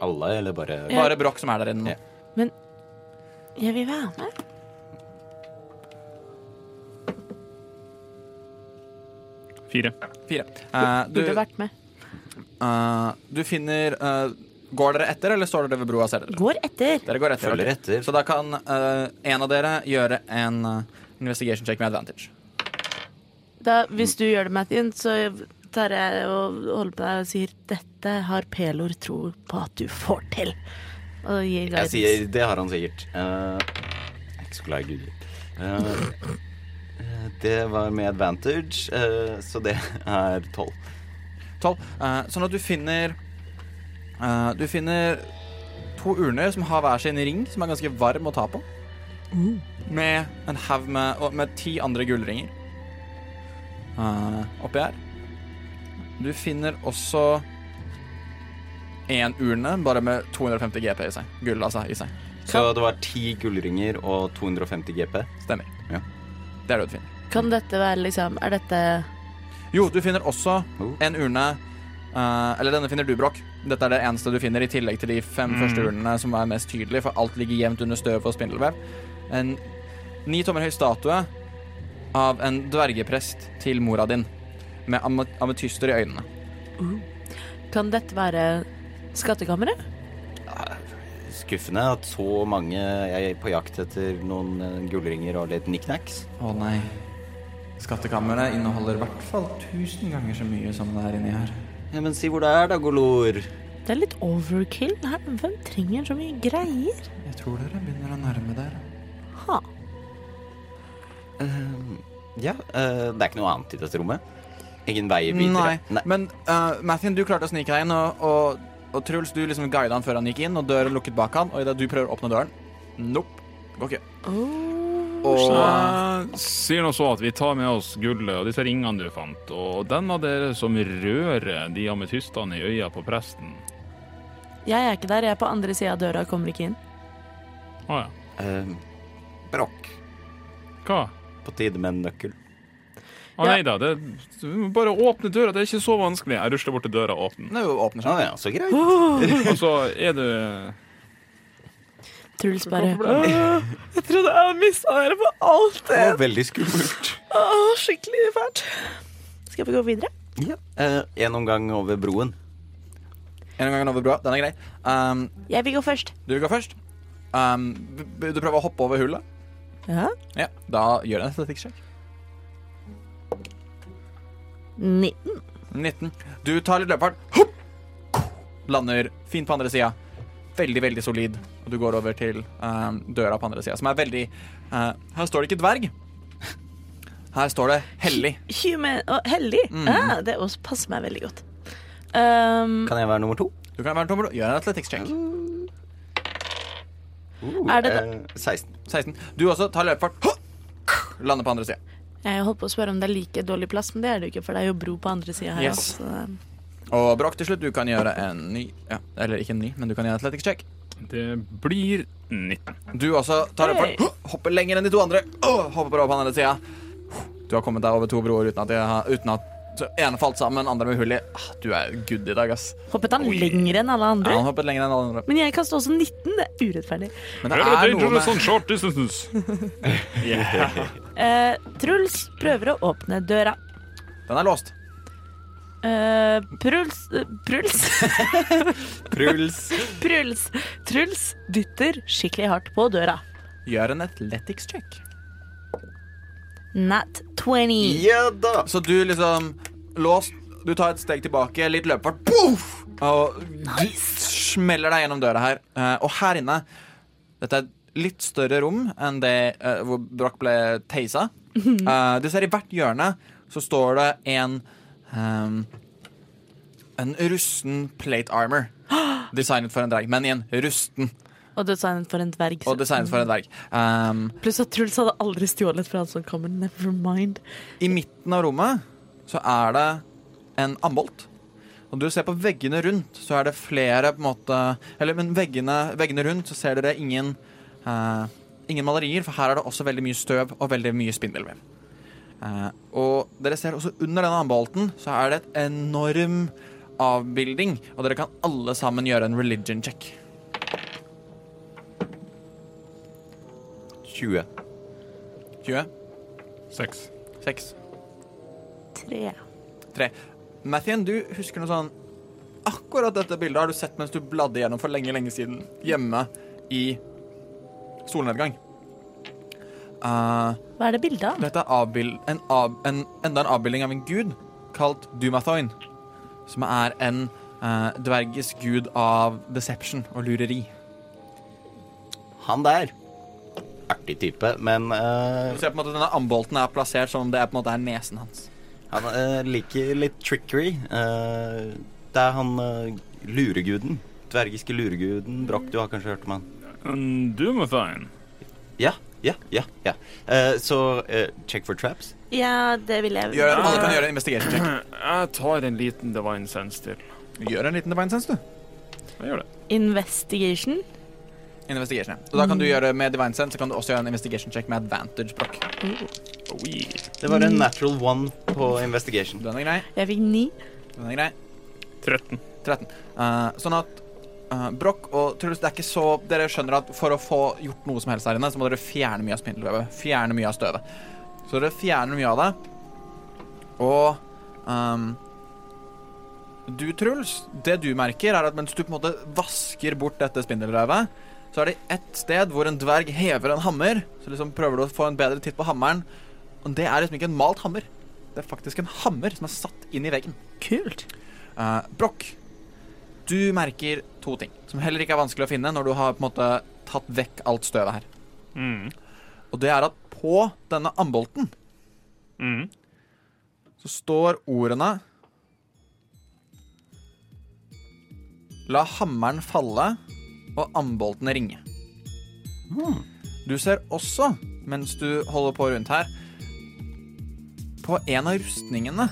Alle, eller bare Bare Broch som er der inne. nå. Ja. Jeg vil være med. Fire. Fire. Eh, du, Burde vært med. eh, du finner eh, Går dere etter, eller står dere ved broa og ser dere? Går etter. Dere går etter. Følger ok. etter. Så da kan eh, en av dere gjøre en eh, investigation check med advantage. Da, hvis du gjør det, Mathien, så tar jeg og holder på deg og sier dette har Pelor tro på at du får til. Og gir Jeg guidance. sier Det har han sikkert. Eh, jeg er ikke så glad i guder. Eh, eh, det var med advantage, eh, så det er tolv. Tolv. Eh, sånn at du finner eh, Du finner to urner som har hver sin ring, som er ganske varm å ta på. Med en haug med, og med ti andre gullringer eh, oppi her. Du finner også én urne, bare med 250 GP i seg. Gull, altså, i seg. Så det var ti gullringer og 250 GP. Stemmer. Ja. Det er det du finner. Kan dette være liksom Er dette Jo, du finner også Oh. en urne eh, Eller denne finner du, Broch. Dette er det eneste du finner, i tillegg til de fem første urnene som er mest tydelige, for alt ligger jevnt under støv og spindelvev. En ni tommer høy statue av en dvergeprest til mora din, med ame- ametyster i øynene. Kan dette være skattkammeret? Skuffende at så mange Jeg er på jakt etter noen eh, gullringer og litt knickknacks. Å nei. Skattkammeret inneholder i hvert fall tusen ganger så mye som det er inni her. Ja, men si hvor det er, da, Golor. Det er litt overkill her. Hvem trenger så mye greier? Jeg tror dere begynner å nærme dere. Ha. Ja, eh, det er ikke noe annet i dette rommet. Ingen vei videre. Nei, men uh, Mathien, du klarte å snike deg inn, og, og, og Truls, du liksom guidet han før han gikk inn, og døren lukket bak han, og idet du prøver å åpne døren Nope. Går ikke. og Jeg sier nå så at vi tar med oss gullet og disse ringene du fant, og den av dere som rører de ametystene i øya på presten. Jeg er ikke der. Jeg er på andre sida av døra og kommer ikke inn. Å ja. Eh, brokk. Hva? På tide med en nøkkel. Å nei da, det, du må bare åpne døra, det er ikke så vanskelig. Jeg rusler bort til døra og åpner den. Nå åpner Å seg. Sånn, ja, så greit. Og så er du Truls bare Jeg trodde jeg mista dere på alt det. Det var veldig skummelt. Åh, skikkelig fælt. Skal vi gå videre? Ja. Eh, en omgang over broen. En gang over broa. Den er grei. Um, Jeg vil gå først. du går først. Um, b- b- du prøver å hoppe over hullet. Ja. Ja, Da gjør jeg en statistikksjekk. 19. 19. Du tar litt løpefart. Hopp! Lander fint på andre sida. Veldig, veldig solid. Og du går over til eh, døra på andre sida, som er veldig eh, Her står det ikke dverg. Her står det hellig. Human og heldig. Ah, det også passer meg veldig godt. Um, Kan jeg være nummer to? Du kan være en tommer. Gjør en athletics check. Uh, Er det eh, 16. 16. Du også, ta løpefart. Lander på andre sida. Jeg holdt på å spørre om det er like dårlig plass, men det er det jo ikke, for det er jo bro på andre sida her. Yes. også, så- eh, Og Brokk til slutt, du kan gjøre en ny ja, Eller ikke en ny, men du kan gjøre en athletics check. Det blir 19. Du også tar løpefart. Hopper lenger enn de to andre. Åh, Hopper over på den andre sida. Du har kommet deg over to broer uten at, jeg har, uten at så ene falt sammen, andre med hull i. Ah, Du er good i dag, ass. Hoppet han lenger enn alle Ja, andre? han hoppet lenger enn alle andre. Men jeg kastet også 19. Det er urettferdig. Men det er Very noe dangerous med on sånn short distances. Eh, Truls prøver å åpne døra. Den er låst. Eh, Pruls eh, Pruls Pruls. Pruls Truls dytter skikkelig hardt på døra. Gjør en athletics check. Nat 20. Ja da. Så du liksom Låst. Du tar et steg tilbake, litt løpefart, Poff! og du smeller deg gjennom døra her. Eh, og her inne Dette er et litt større rom enn det eh, hvor Broch ble teisa. Eh, du ser i hvert hjørne så står det en ehm, En rusten plate armor. Designet for en dverg, men igjen rusten. Og designet for en dverg. Og designet for en dverg. Ehm, Pluss at Truls hadde aldri stjålet fra han som kommer. Never mind. I midten av rommet så er det en ambolt. Og du ser på veggene rundt, så er det flere på en måte Eller, men veggene, veggene rundt så ser dere ingen eh, Ingen malerier, for her er det også veldig mye støv og veldig mye spindelvev. Eh, og dere ser også under denne ambolten så er det et enorm avbilding, og dere kan alle sammen gjøre en religion check. 20. 20, 6. 6, Tre. 3. Mathien, du husker noe sånn Akkurat dette bildet har du sett mens du bladde gjennom for lenge, lenge siden hjemme i solnedgang. Eh, Hva er det bildet av? dette er avbild, en av, en, enda en avbildning av en gud kalt Dumathoin, som er en eh, dvergisk gud av deception og lureri. Han der. Artig type, men eh, Du ser på en måte denne ambolten er plassert som om det er på en måte er nesen hans. han eh, liker litt trickery. Eh, det er han eh, lureguden. Dvergiske lureguden. Broch, du har kanskje hørt om han? Dumathine. Ja, ja, ja. ja. Eh, så eh, check for traps. Ja, det vil jeg. Gjør, alle kan gjøre en investigation check. Jeg tar en liten divine sense til. Gjør en liten divine sense, du. Jeg gjør det. Investigation. En Investigation, ja. Og da kan du gjøre med divine sense, så kan du også gjøre en investigation check med advantage, Broch. Oi. Det var Mm. en natural one på investigation. Den er grei. Jeg fikk ni. Den er grei. 13. 13. Eh, sånn at uh, Broch og Truls, det er ikke så Dere skjønner at for å få gjort noe som helst her inne, så må dere fjerne mye av spindelvevet. Fjerne mye av støvet. Så dere fjerner mye av det. Og ehm, du, Truls, det du merker, er at mens du på en måte vasker bort dette spindelvevet, så er det ett sted hvor en dverg hever en hammer. Så liksom prøver du å få en bedre titt på hammeren. Og det er liksom ikke en malt hammer. Det er faktisk en hammer som er satt inn i veggen. Kult. Eh, Broch, du merker to ting som heller ikke er vanskelig å finne når du har på en måte tatt vekk alt støvet her. Mm. Og det er at på denne ambolten Mm. så står ordene La hammeren falle og ambolten ringe. Mm. Du ser også, mens du holder på rundt her, på en av rustningene.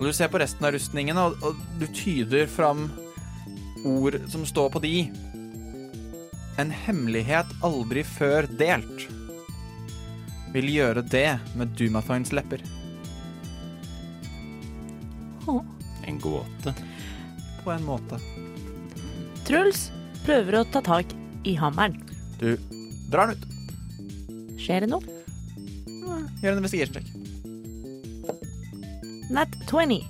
Og du ser på resten av rustningene, og, og du tyder fram ord som står på de. En hemmelighet aldri før delt vil gjøre det med Dumathoins lepper. En gåte. På en måte. Truls prøver å ta tak i hammeren. Du drar den ut. Skjer det noe? Gjør en investigation check. Nat 20.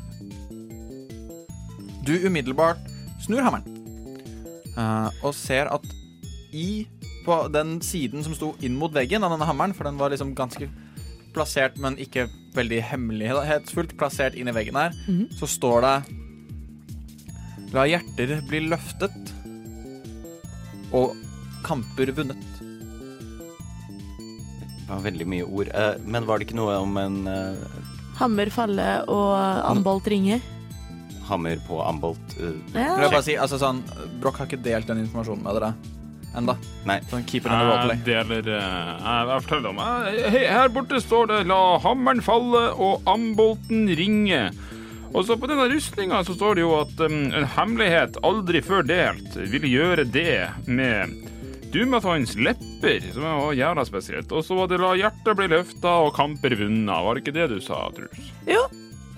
Du umiddelbart snur hammeren eh, og ser at i på den siden som sto inn mot veggen av denne hammeren, for den var liksom ganske plassert, men ikke veldig hemmelighetsfullt plassert inn i veggen her, så står det La hjerter bli løftet og kamper vunnet. Det var veldig mye ord. Eh, men var det ikke noe om en eh, Hammer falle og Mm. ambolt ringe. hammer på ambolt? eh, Jeg vil Ja. bare si, altså sånn, Broch har ikke delt den informasjonen med dere. enda. Nei. Sånn keeper in the role Jeg play. deler eh, Jeg, jeg forteller om eh, hei, Her borte står det 'La hammeren falle og ambolten ringe'. Og så på denne rustninga så står det jo at em, en hemmelighet aldri før delt vil gjøre det med Dumatons lepper, som er også jævla spesielt. Og så var det 'La hjertet bli løfta og kamper vunna'. Var det ikke det du sa, Truls? Jo,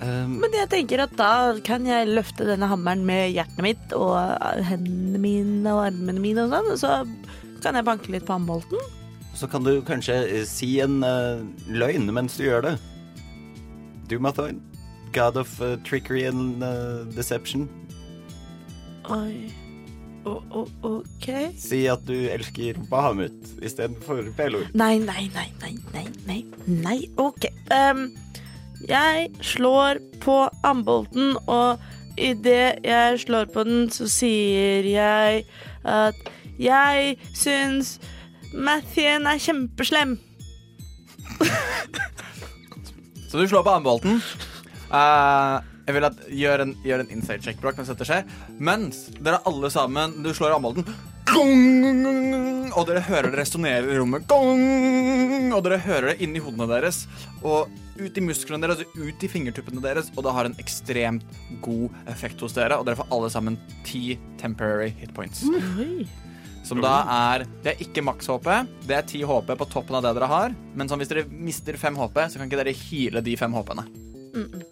Um, men jeg tenker at da kan jeg løfte denne hammeren med hjertet mitt og hendene mine og armene mine og sånn, og så kan jeg banke litt på ambolten. Så kan du kanskje eh, si en eh, løgn mens du gjør det. Dumathoin. God of eh, trickery and eh, deception. Oi. O- o- OK. Si at du elsker Bahamut istedenfor Pelor. Nei, nei, nei, nei, nei, nei. nei. OK. Ehm, jeg slår på ambolten, og idet jeg slår på den, så sier jeg at jeg syns Mathien er kjempeslem. Så du slår på armbolten. Eh, jeg vil at gjør en, gjør en inside check bråk mens dette skjer. Mens dere alle sammen Du slår armbolten. Gong! Og dere hører det resonnere i rommet. Gong! Og dere hører det inni hodene deres og ut i musklene deres og ut i fingertuppene deres. Og det har en ekstremt god effekt hos dere, og dere får alle sammen ti temporary hit points. Som da er Det er ikke maks HP, det er 10 HP på toppen av det dere har. Men sånn, hvis dere mister 5 HP, så kan ikke dere heale de 5 HP-ene.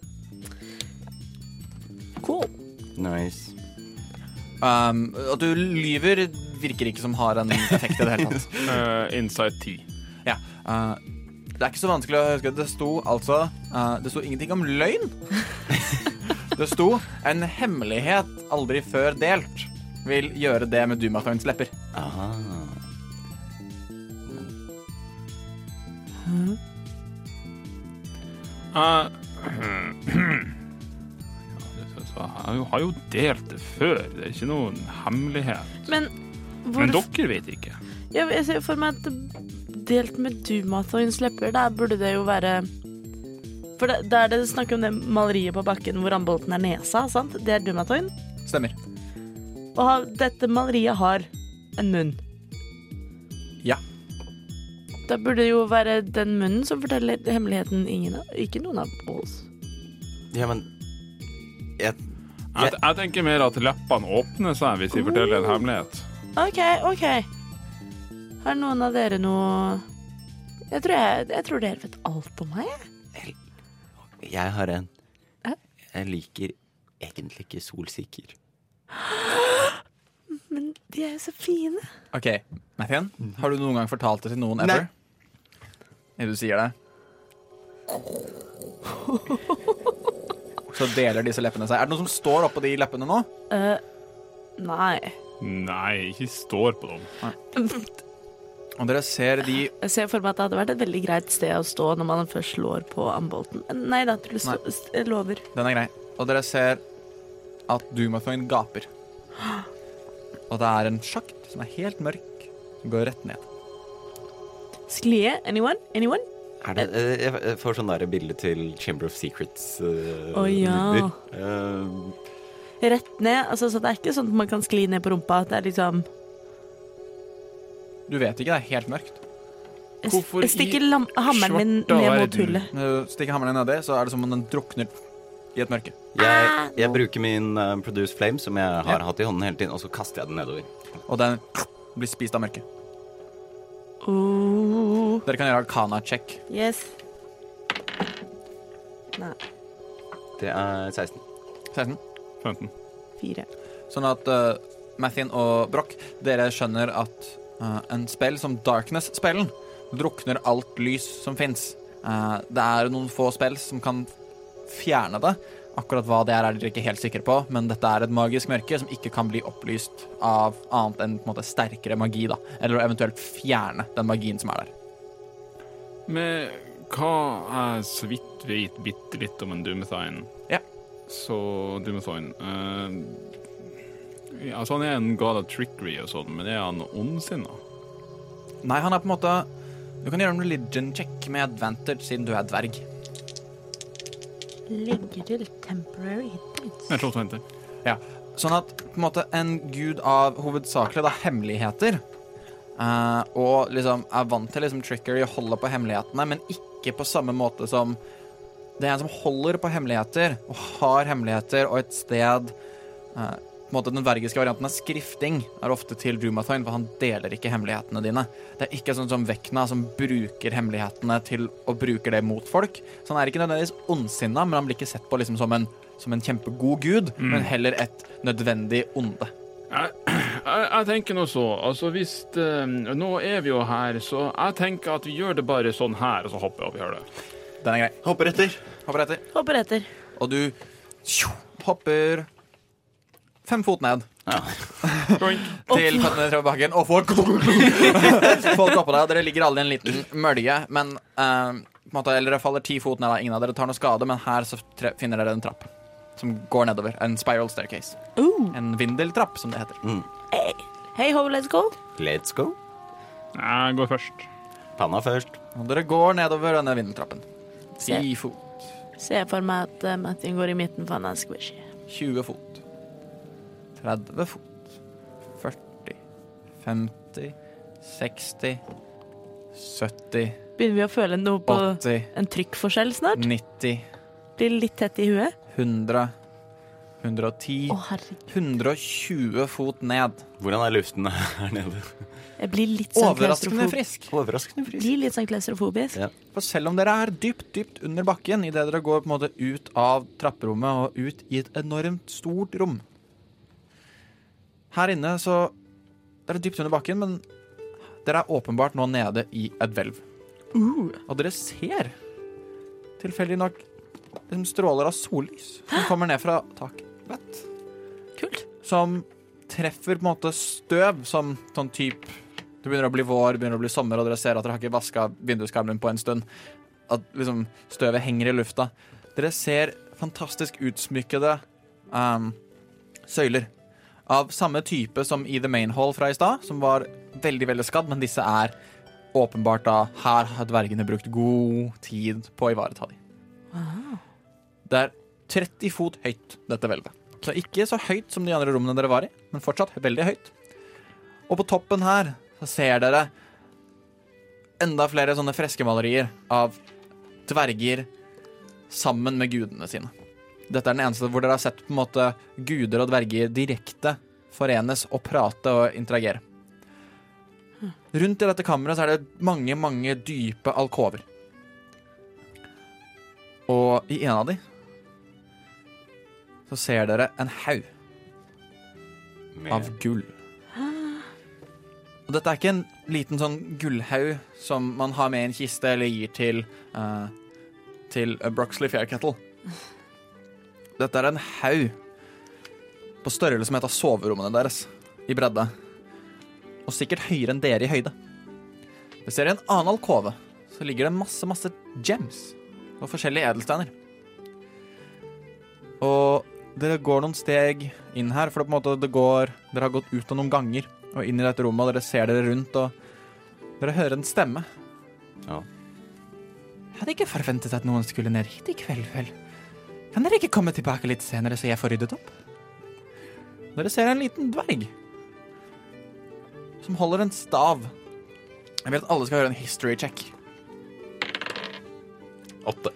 Cool. Nice. Um, at du lyver, virker ikke som har en effekt i det hele tatt. Uh, Inside 10. Ja. Uh, det er ikke så vanskelig å huske. Det sto altså uh, Det sto ingenting om løgn. det sto 'en hemmelighet aldri før delt' vil gjøre det med Dumathoins lepper. Aha. Jeg jeg har jo delt det før. Det er ikke noen hemmelighet. Men Men hvorfor dere vet ikke. Ja, jeg ser for meg at delt med Dumathoins lepper, der burde det jo være For det, der det snakker om det maleriet på bakken hvor ambolten er nesa, sant? Det er Dumathoin. Stemmer. Og ha- dette maleriet har en munn. Ja. Da burde det jo være den munnen som forteller hemmeligheten ingen av Ikke noen av oss. Ja, men jeg, Jeg, jeg tenker mer at leppene åpner seg hvis vi forteller en hemmelighet. OK, OK. Har noen av dere noe Jeg tror, jeg, jeg tror dere vet alt om meg, jeg. jeg har en. Hæ? Jeg liker egentlig ikke solsikker. Men de er jo så fine. OK, Mathien, har du noen gang fortalt det til noen ever? Nei. Du sier det. Så deler disse leppene seg. Er det noen som står oppå de leppene nå? Eh, nei. Nei, ikke står på dem. Og dere ser de Jeg ser for meg at det hadde vært et veldig greit sted å stå når man først slår på ambolten. Nei da, Truls. Nei. s- Jeg lover. Den er grei. Og dere ser at Dumathoin gaper. Og det er en sjakt som er helt mørk, som går rett ned. Sklie? Anyone? Anyone? Er det, eh, jeg jeg får sånn der bilde til Chamber of Secrets. eh, Å, ja. bilder. Eh, Rett ned. Altså, så det er ikke sånn at man kan skli ned på rumpa. Det er liksom Du vet ikke, det er helt mørkt. Jeg, s- Hvorfor jeg stikker i lam hammeren min svarta ned mot verden? hullet. Når du stikker hammeren nedi, så er det som om den drukner i et mørke. jeg, jeg bruker min eh, Produce Flame, som jeg har hatt i hånden hele tiden, og så kaster jeg den nedover. Og den blir spist av mørket. Oh, Dere kan gjøre Arcana-check. yes. Nei. Det er 16. 16. 15. Fire. Sånn at uh, Mathien og Broch, dere skjønner at eh, en spill som Darkness-spillen drukner alt lys som fins. det er noen få spill som kan fjerne det. Akkurat hva det er, er dere ikke helt sikre på, men dette er et magisk mørke som ikke kan bli opplyst av annet enn på en måte, sterkere magi, da. Eller å eventuelt fjerne den magien som er der. Med hva jeg så vidt vet bitte litt om en Dumethain Ja. Så Dumethain eh, ja, Altså, han er en god av trickery og sånn, men er han ondsinna? Nei, han er på en måte Du kan gjøre en religion check med advantage siden du er dverg. Legger til temporary hit points. Jeg tror han heter Ja, sånn at på en måte en gud av hovedsakelig da hemmeligheter Eh, og liksom er vant til liksom trickery, holder på hemmelighetene, men ikke på samme måte som Det er en som holder på hemmeligheter, og har hemmeligheter, og et sted eh, på en måte Den vergiske varianten av skrifting er ofte til Dumathoin, for han deler ikke hemmelighetene dine. Det er ikke sånn som Vekna, som bruker hemmelighetene til å bruke det mot folk. Så han er ikke nødvendigvis ondsinna, men han blir ikke sett på liksom som en, som en kjempegod gud, men heller et nødvendig onde. Jeg, jeg tenker nå så, altså hvis eh, Nå er vi jo her, så jeg tenker at vi gjør det bare sånn her, og så hopper jeg opp i hølet. Den er grei. Hopper etter. Hopper etter. Hopper etter. Og du tjo, hopper fem fot ned til føttene treffer bakken, og folk Folk oppå deg. Dere ligger alle i en liten mølje, men eh, på en måte, Eller dere faller ti fot ned. da. Ingen av dere tar noe skade, men her så tre finner dere en trapp som går nedover. En spiral staircase. En vindeltrapp, som det heter. Hei, ho, let's go. Let's go. Jeg går først. Panna først. Og dere går nedover denne vindeltrappen. Ti fot. Ser jeg for meg at eh, Martin går i midten, for han er squishy. 20 fot. 30 fot. 40. 50. 60. 70. Begynner vi å føle noe på 80. en trykkforskjell snart? 90. Blir litt tett i huet? 100. 110. Å, herregud. 120 fot ned. Hvordan er luften her nede? Jeg blir litt sånn Overraskende klaustrofob- frisk. Overraskende frisk. Blir litt sånn klaustrofobisk. Ja. For selv om dere er dypt, dypt under bakken, idet dere går på en måte ut av trapperommet og ut i et enormt stort rom Her inne så Dere er dypt under bakken, men dere er åpenbart nå nede i et hvelv. Uh, Og dere ser tilfeldig nok liksom stråler av sollys som kommer ned fra taket. Kult. som treffer på en måte støv, som sånn typ Det begynner å bli vår, begynner å bli sommer, og dere ser at dere har ikke vaska vinduskarmen på en stund. At liksom støvet henger i lufta. Dere ser fantastisk utsmykkede ehm, søyler. Av samme type som i The Main Hall fra i stad, som var veldig veldig skadd, men disse er åpenbart da Her har dvergene brukt god tid på å ivareta dem. Det er 30 fot høyt, dette hvelvet. Så ikke så høyt som de andre rommene dere var i, men fortsatt veldig høyt. Og på toppen her så ser dere enda flere sånne freskemalerier av dverger sammen med gudene sine. Dette er den eneste hvor dere har sett på en måte guder og dverger direkte forenes og prate og interagere. Rundt i dette kammeret så er det mange, mange dype alkover. Og i en av de så ser dere en haug av Med gull. Og dette er ikke en liten sånn gullhaug som man har med i en kiste eller gir til eh, til Broxley Fairkettle. Dette er en haug på størrelse med et av soverommene deres i bredde. Og sikkert høyere enn dere i høyde. Vi ser i en annen alkove så ligger det masse, masse gems og forskjellige edelsteiner. Og dere går noen steg inn her, for det på en måte det går Dere har gått ut av noen ganger og inn i dette rommet, og dere ser dere rundt, og dere hører en stemme. Ja. Jeg hadde ikke forventet at noen skulle ned hit i kveld, vel. Kan dere ikke komme tilbake litt senere, så jeg får ryddet opp? Dere ser en liten dverg som holder en stav. Jeg vil at alle skal høre en history check. åtte.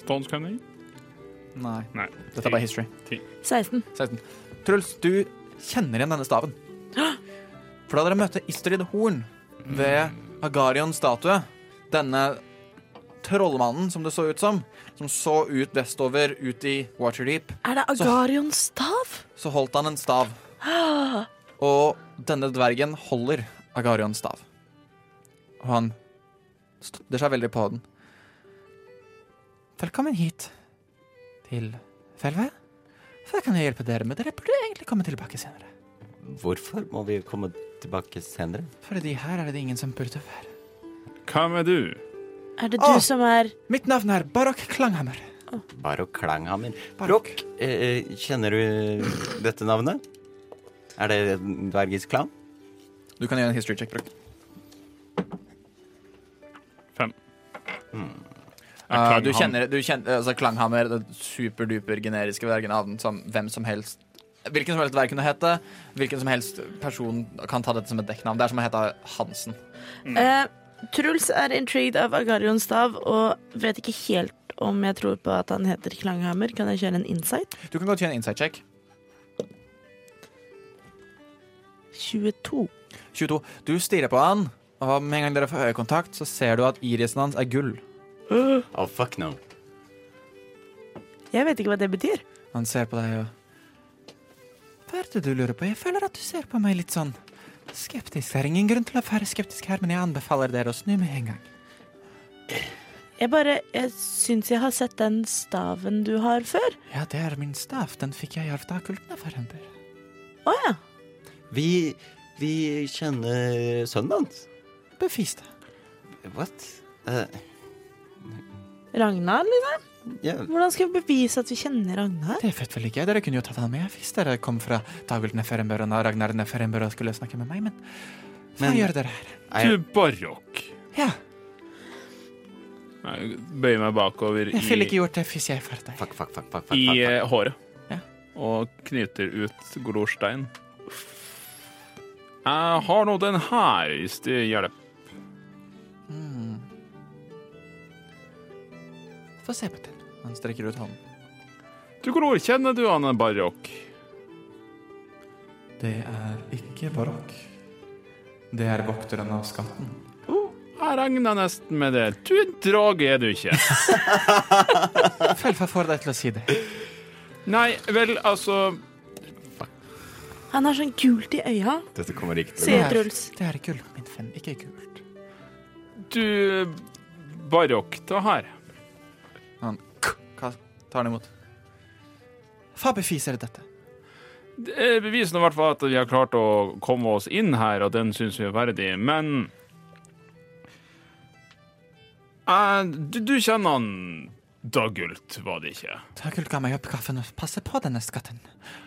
Stones Cunning. Nei. Nei. Dette er bare history. 16. 16. Truls, du kjenner igjen denne staven. For da dere møtte Istrid Horn ved Agarions statue, denne trollmannen som det så ut som, som så ut vestover ut i Waterdeep, Er det Agarions stav? Ah, så holdt han en stav. Og denne dvergen holder Agarions stav. Og han støtter seg veldig på den. Velkommen hit til Felvet. For da kan jeg hjelpe dere, men dere burde egentlig komme tilbake senere. Hvorfor må vi komme tilbake senere? Fordi her er det ingen som burde være. Hvem er du? Er det du Å! som er Mitt navn er Barok Klanghammer. Barok Klanghammer. Barok. Brokk, eh, eh, kjenner du dette navnet? Er det en dvergisk klan? Du kan gjøre en history check, Brok. Fem. Uh, Jeg du klang ham. kjenner, du kjenner altså Klanghammer, det superduper generiske vergenavn som hvem som helst Hvilken som helst vær kunne hete. Hvilken som helst person kan ta dette som et dekknavn. Det er som å hete Hansen. Mm. Eh, Truls er intrigued av Agarions stav og vet ikke helt om jeg tror på at han heter Klanghammer. Kan jeg kjøre en insight? Du kan godt gjøre en insight check. 22. 22. Du stirrer på han, og med en gang dere får øyekontakt, så ser du at irisen hans er gull. Oh, fuck no. Jeg vet ikke hva det betyr. Han ser på deg og Hva er det du lurer på? Jeg føler at du ser på meg litt sånn skeptisk. Det er ingen grunn til å være skeptisk her, men jeg anbefaler dere å snu med en gang. Jeg bare jeg syns jeg har sett den staven du har før. Ja, det er min stav. Den fikk jeg i arv av kultnafarender. Å ja. Vi, vi kjenner sønnen hans. Bevis det. What? Eh, Ragnar, liksom? ja, Hvordan skal vi bevise at vi kjenner Ragnar? Det vet vel ikke jeg. Dere kunne jo tatt han med hvis dere kom fra Dagult Neferembør og Ragnar Neferembør og skulle snakke med meg, men hva Men- gjør dere her? nei, Du, Barok. Ja, Jeg bøyer meg bakover jeg ville ikke i, gjort det hvis jeg var deg. fuck, fuck, fuck, fuck, fuck, i fuck, eh, håret. Ja. Og knyter ut glorstein. Jeg har nå den her, hvis det hjelper. Mm. Få se på den. Han strekker ut hånden. Du glorkjenner du han Barok? Det er ikke barokk. Det er vokteren av skatten. Jeg regna nesten med det. Du er en drage, er du ikke? Felfa får deg til å si det. Nei, vel, altså Han har sånn gult i øya, fuck. Dette kommer ikke til å sier er- Truls. Det er gull, min venn. Ikke gult. Du, Barok, ta her. Han k- ka- tar den imot. Hva beviser dette? Det beviser i hvert fall at vi har klart å komme oss inn her, og den syns vi er verdig, men Eh, du, du kjenner han Dagult, var det ikke? Dagult ga meg oppgaven å passe på denne skatten.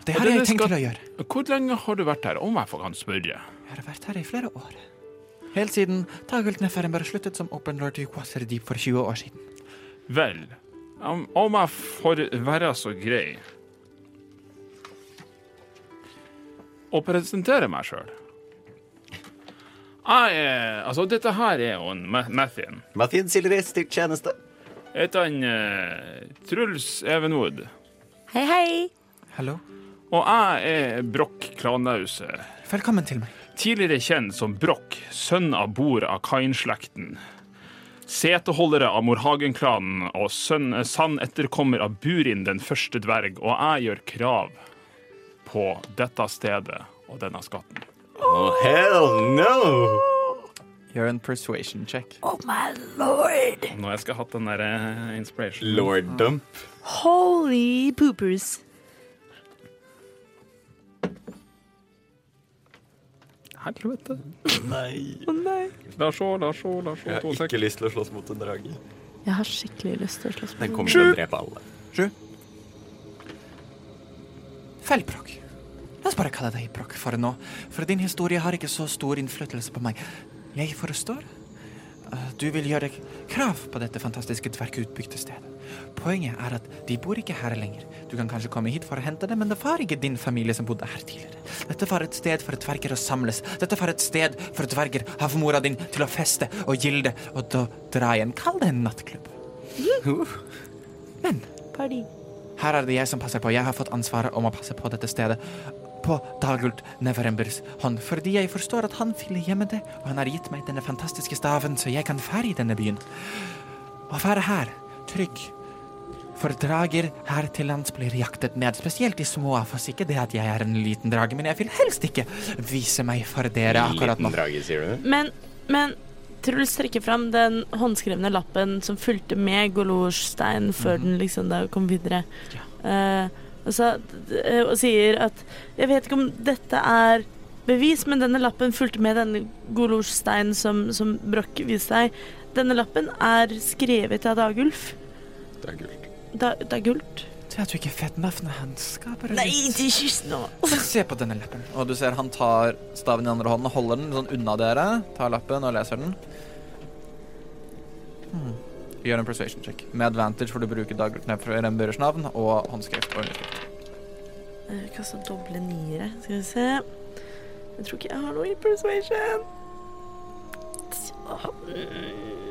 Det har denne jeg tenkt skatt- til å gjøre. Hvor lenge har du vært her, om jeg får kan spørre? Jeg har vært her i flere år. Helt siden Dagult Neferenberg sluttet som Open Lord i Waterdeep for 20 år siden. Vel, om, om jeg får være så grei å presentere meg sjøl Jeg er Altså, dette her er jo en Ma- Mathien. Mathien Silris til tjeneste. Heter han eh, Truls Evenwood. Hei, hei. Hallo. Og jeg er Brokk Klanause. Velkommen til meg. Tidligere kjent som Brokk, sønn av Bor av Kain-slekten. Seteholdere av Morhagen-klanen og sønn, eh, sann etterkommer av Burin den første dverg, og jeg gjør krav på dette stedet og denne skatten. Oh, hell no! Gjør en persuasion check. Oh my lord. Nå jeg skal ha hatt den der eh, inspiration. Lord Dump. Holy poopers. Helvete. Nei. La oss se, la oss se, la oss se. Jeg To har ikke sek- lyst til å slåss mot en drage. Jeg har skikkelig lyst til å slåss med Den kommer til Sju. å drepe alle. Sju. Feilbrokk. La oss bare kalle deg Brokk for nå, for din historie har ikke så stor innflytelse på meg. Jeg forstår. Eh, Du vil gjøre krav på dette fantastiske dvergutbygde stedet. Poenget er at de bor ikke her lenger. Du kan kanskje komme hit for å hente dem, men det var ikke din familie som bodde her tidligere. Dette var et sted for dverger å samles. Dette var et sted for dverger av mora din til å feste og gilde og da dra igjen. Kall det en nattklubb. Men party. her er det jeg som passer på. Jeg har fått ansvaret om å passe på dette stedet. På Dagult Neverembers hånd. Fordi jeg forstår at han ville gjemme det, og han har gitt meg denne fantastiske staven, så jeg kan være i denne byen. Å være her, trygg. For drager her til lands blir jaktet ned, spesielt de små av oss. Ikke det at jeg er en liten drage, men jeg vil helst ikke vise meg for dere akkurat nå. Liten drage, sier du? Men, men Truls trekker fram den håndskrevne lappen som fulgte med Golosjstein før Mhm. den liksom da kom videre. Eh, og, sa, eh, og sier at Jeg vet ikke om dette er bevis, men denne lappen fulgte med denne Golosjstein som, som Broch viste deg. Denne lappen er skrevet av Dagulf. Det er gult. Da, Dagult? Det at du ikke vet navnet hans, skaper Nei, litt ikke kyss nå! Se på denne lappen. Og du ser han tar staven i andre hånden og holder den sånn unna dere. Tar lappen og leser den. Hmm. Gjør en persuasion check. Med advantage får du bruke Dagrut Neferembørers navn og håndskrift. Og underskrift. Eh, Kasta doble niere. Skal vi se. Jeg tror ikke jeg har noe i persuasion. Så.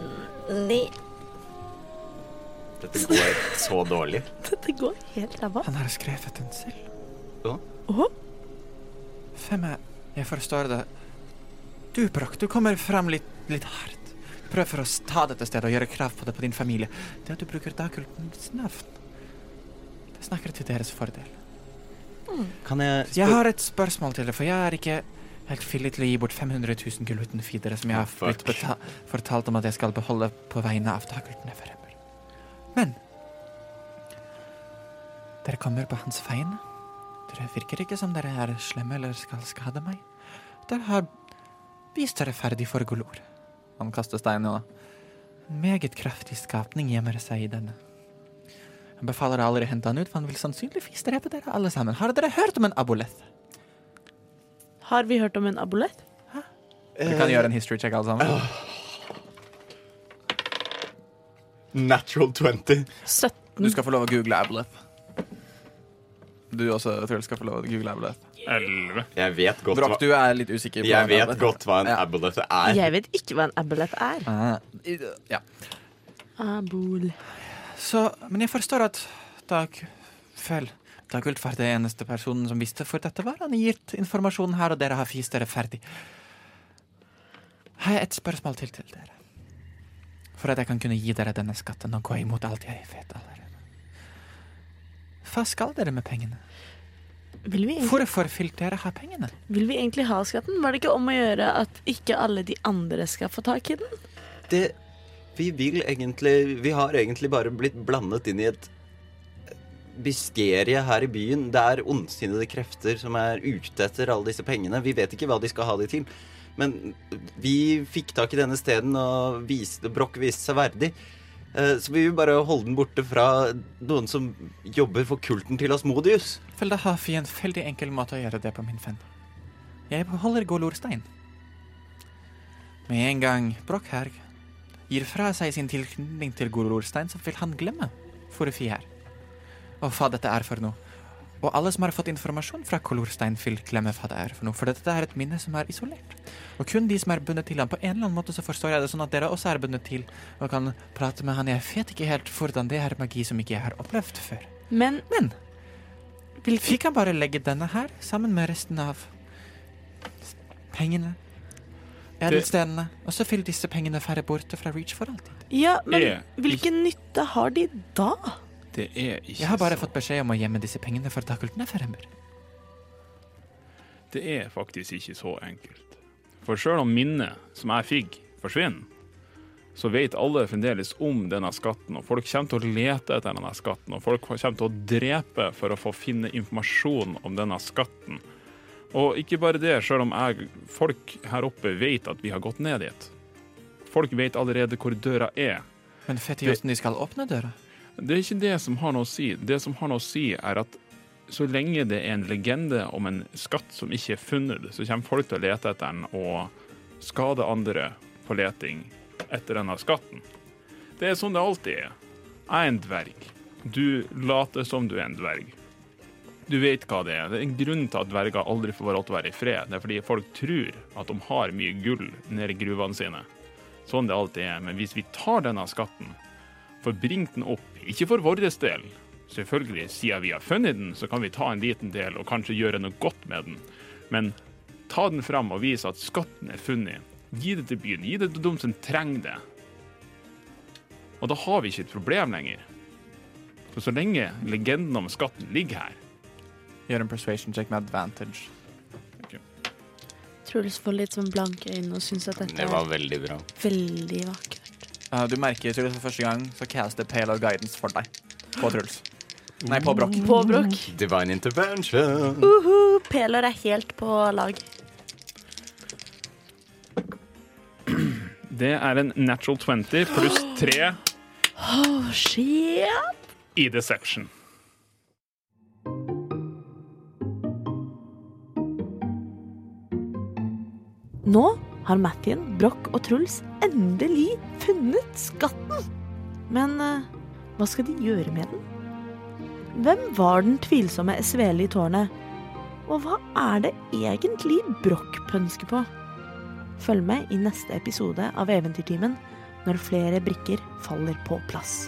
Mm. Nei, Dette går så dårlig. dette går helt ræva. Han har skrevet den selv. Ja. Åhå. Fem er Jeg forstår det. Du, Broch, du kommer fram litt, litt hardt. Prøver å ta dette stedet og gjøre krav på det på din familie. Det at du bruker dagkultens navn, det snakker til deres fordel. Kan jeg Jeg har et spørsmål til deg, for jeg er ikke helt villig til å gi bort 500 000 gull uten videre, som jeg har Fuck. blitt beta- fortalt om at jeg skal beholde på vegne av dagultene fremmer. Men Dere kommer på hans vegne. Dere virker ikke som dere er slemme eller skal skade meg. Dere har vist dere ferdig for Golor. Han kaster steinen, da. En meget kraftig skapning gjemmer seg i denne. Han befaler alle å hente han ut, for han vil sannsynligvis drepe dere alle sammen. Har dere hørt om en aboleth? Har vi hørt om en abolett? Dere kan gjøre en history check, alle sammen. Natural 20. 17. Du skal få lov å google Aboleth. Du også, Truls, skal få lov å google Aboleth. Elleve. Jeg vet godt Broch, hva, du er litt usikker. på jeg hva en vet aboleth- godt hva en Ja. aboleth er. Jeg vet ikke hva en abolett er. Ah, i- Ja. Abol. Så, men jeg forstår at Dag Føl Dagult var det eneste personen som visste for dette var. Han har gitt informasjonen her, og dere har vist dere ferdig. Har jeg et spørsmål til til dere? For at jeg kan kunne gi dere denne skatten og gå imot alt jeg vet allerede. Hva skal dere med pengene? Vil vi, egentlig, Hvorfor vil dere ha pengene? vil vi egentlig ha skatten? Var det ikke om å gjøre at ikke alle de andre skal få tak i den? Det Vi vil egentlig Vi har egentlig bare blitt blandet inn i et biskerie her i byen. Det er ondsinnede krefter som er ute etter alle disse pengene. Vi vet ikke hva de skal ha de til. Men vi fikk tak i denne steden, og viste, Broch viste seg verdig. Eh, Så vi vil bare holde den borte fra noen som jobber for kulten til Asmodius. Vel, da har vi en veldig enkel måte å gjøre det på, min venn. Jeg beholder Golorstein. Med en gang Brochherg gir fra seg sin tilknytning til Golorstein, så vil han glemme Forefi her. Og hva dette er for noe. Og alle som har fått informasjon fra Golorstein, vil glemme hva det er for noe, for dette er et minne som er isolert. Og kun de som er bundet til ham på en eller annen måte, så forstår jeg det sånn at dere også er bundet til og kan prate med han. Jeg vet ikke helt hvordan det er magi som ikke jeg har opplevd før. Men Men vi kan bare legge denne her sammen med resten av s- pengene. Edelstenene. Og så vil disse pengene færre borte fra Reach for alltid. Ja, Er men hvilken nytte har de da? Det er ikke Jeg har bare så- fått beskjed om å gjemme disse pengene for takkultene fremmer. Det er faktisk ikke så enkelt. For sjøl om minnet som jeg fikk, forsvinner, så vet alle fremdeles om denne skatten, og folk kommer til å lete etter denne skatten, og folk kommer til å drepe for å få finne informasjon om denne skatten. Og ikke bare det, sjøl om jeg, folk her oppe vet at vi har gått ned dit. Folk vet allerede hvor døra er. Men fetiosten, de skal åpne døra. Det er ikke det som har noe å si. Det som har noe å si, er at så lenge det er en legende om en skatt som ikke er funnet, så kommer folk til å lete etter den og skade andre på leting etter denne skatten. Det er sånn det alltid er. Jeg er en dverg. Du later som du er en dverg. Du vet hva det er. Det er en grunn til at dverger aldri får lov til å være i fred. Det er fordi folk tror at de har mye gull nede i gruvene sine. Sånn det alltid er. Men hvis vi tar denne skatten, for bring den opp, ikke for vår del. Selvfølgelig, siden vi har funnet den, så kan vi ta en liten del og kanskje gjøre noe godt med den. Men ta den fram og vis at skatten er funnet. Gi det til byen, gi det til dem som trenger det. Og da har vi ikke et problem lenger. For så lenge legenden om skatten ligger her, Gjør en persuasion check med advantage. Truls får litt sånn blanke øyne og syns at dette er veldig bra. veldig vakkert. Uh, du merker Truls, for første gang så caster Pale of Guidance for deg. På Truls. Nei, på Broch. Påbrok. Divine intervention. Uhu, Pelor er helt på lag. det er en natural 20 pluss 3 Å, shit. i deception. Nå har Mathien, Broch og Truls endelig funnet skatten. Men eh, hva skal de gjøre med den? Hvem var den tvilsomme svele i tårnet? Og hva er det egentlig Brokk pønsker på? Følg med i neste episode av Eventyrtimen når flere brikker faller på plass.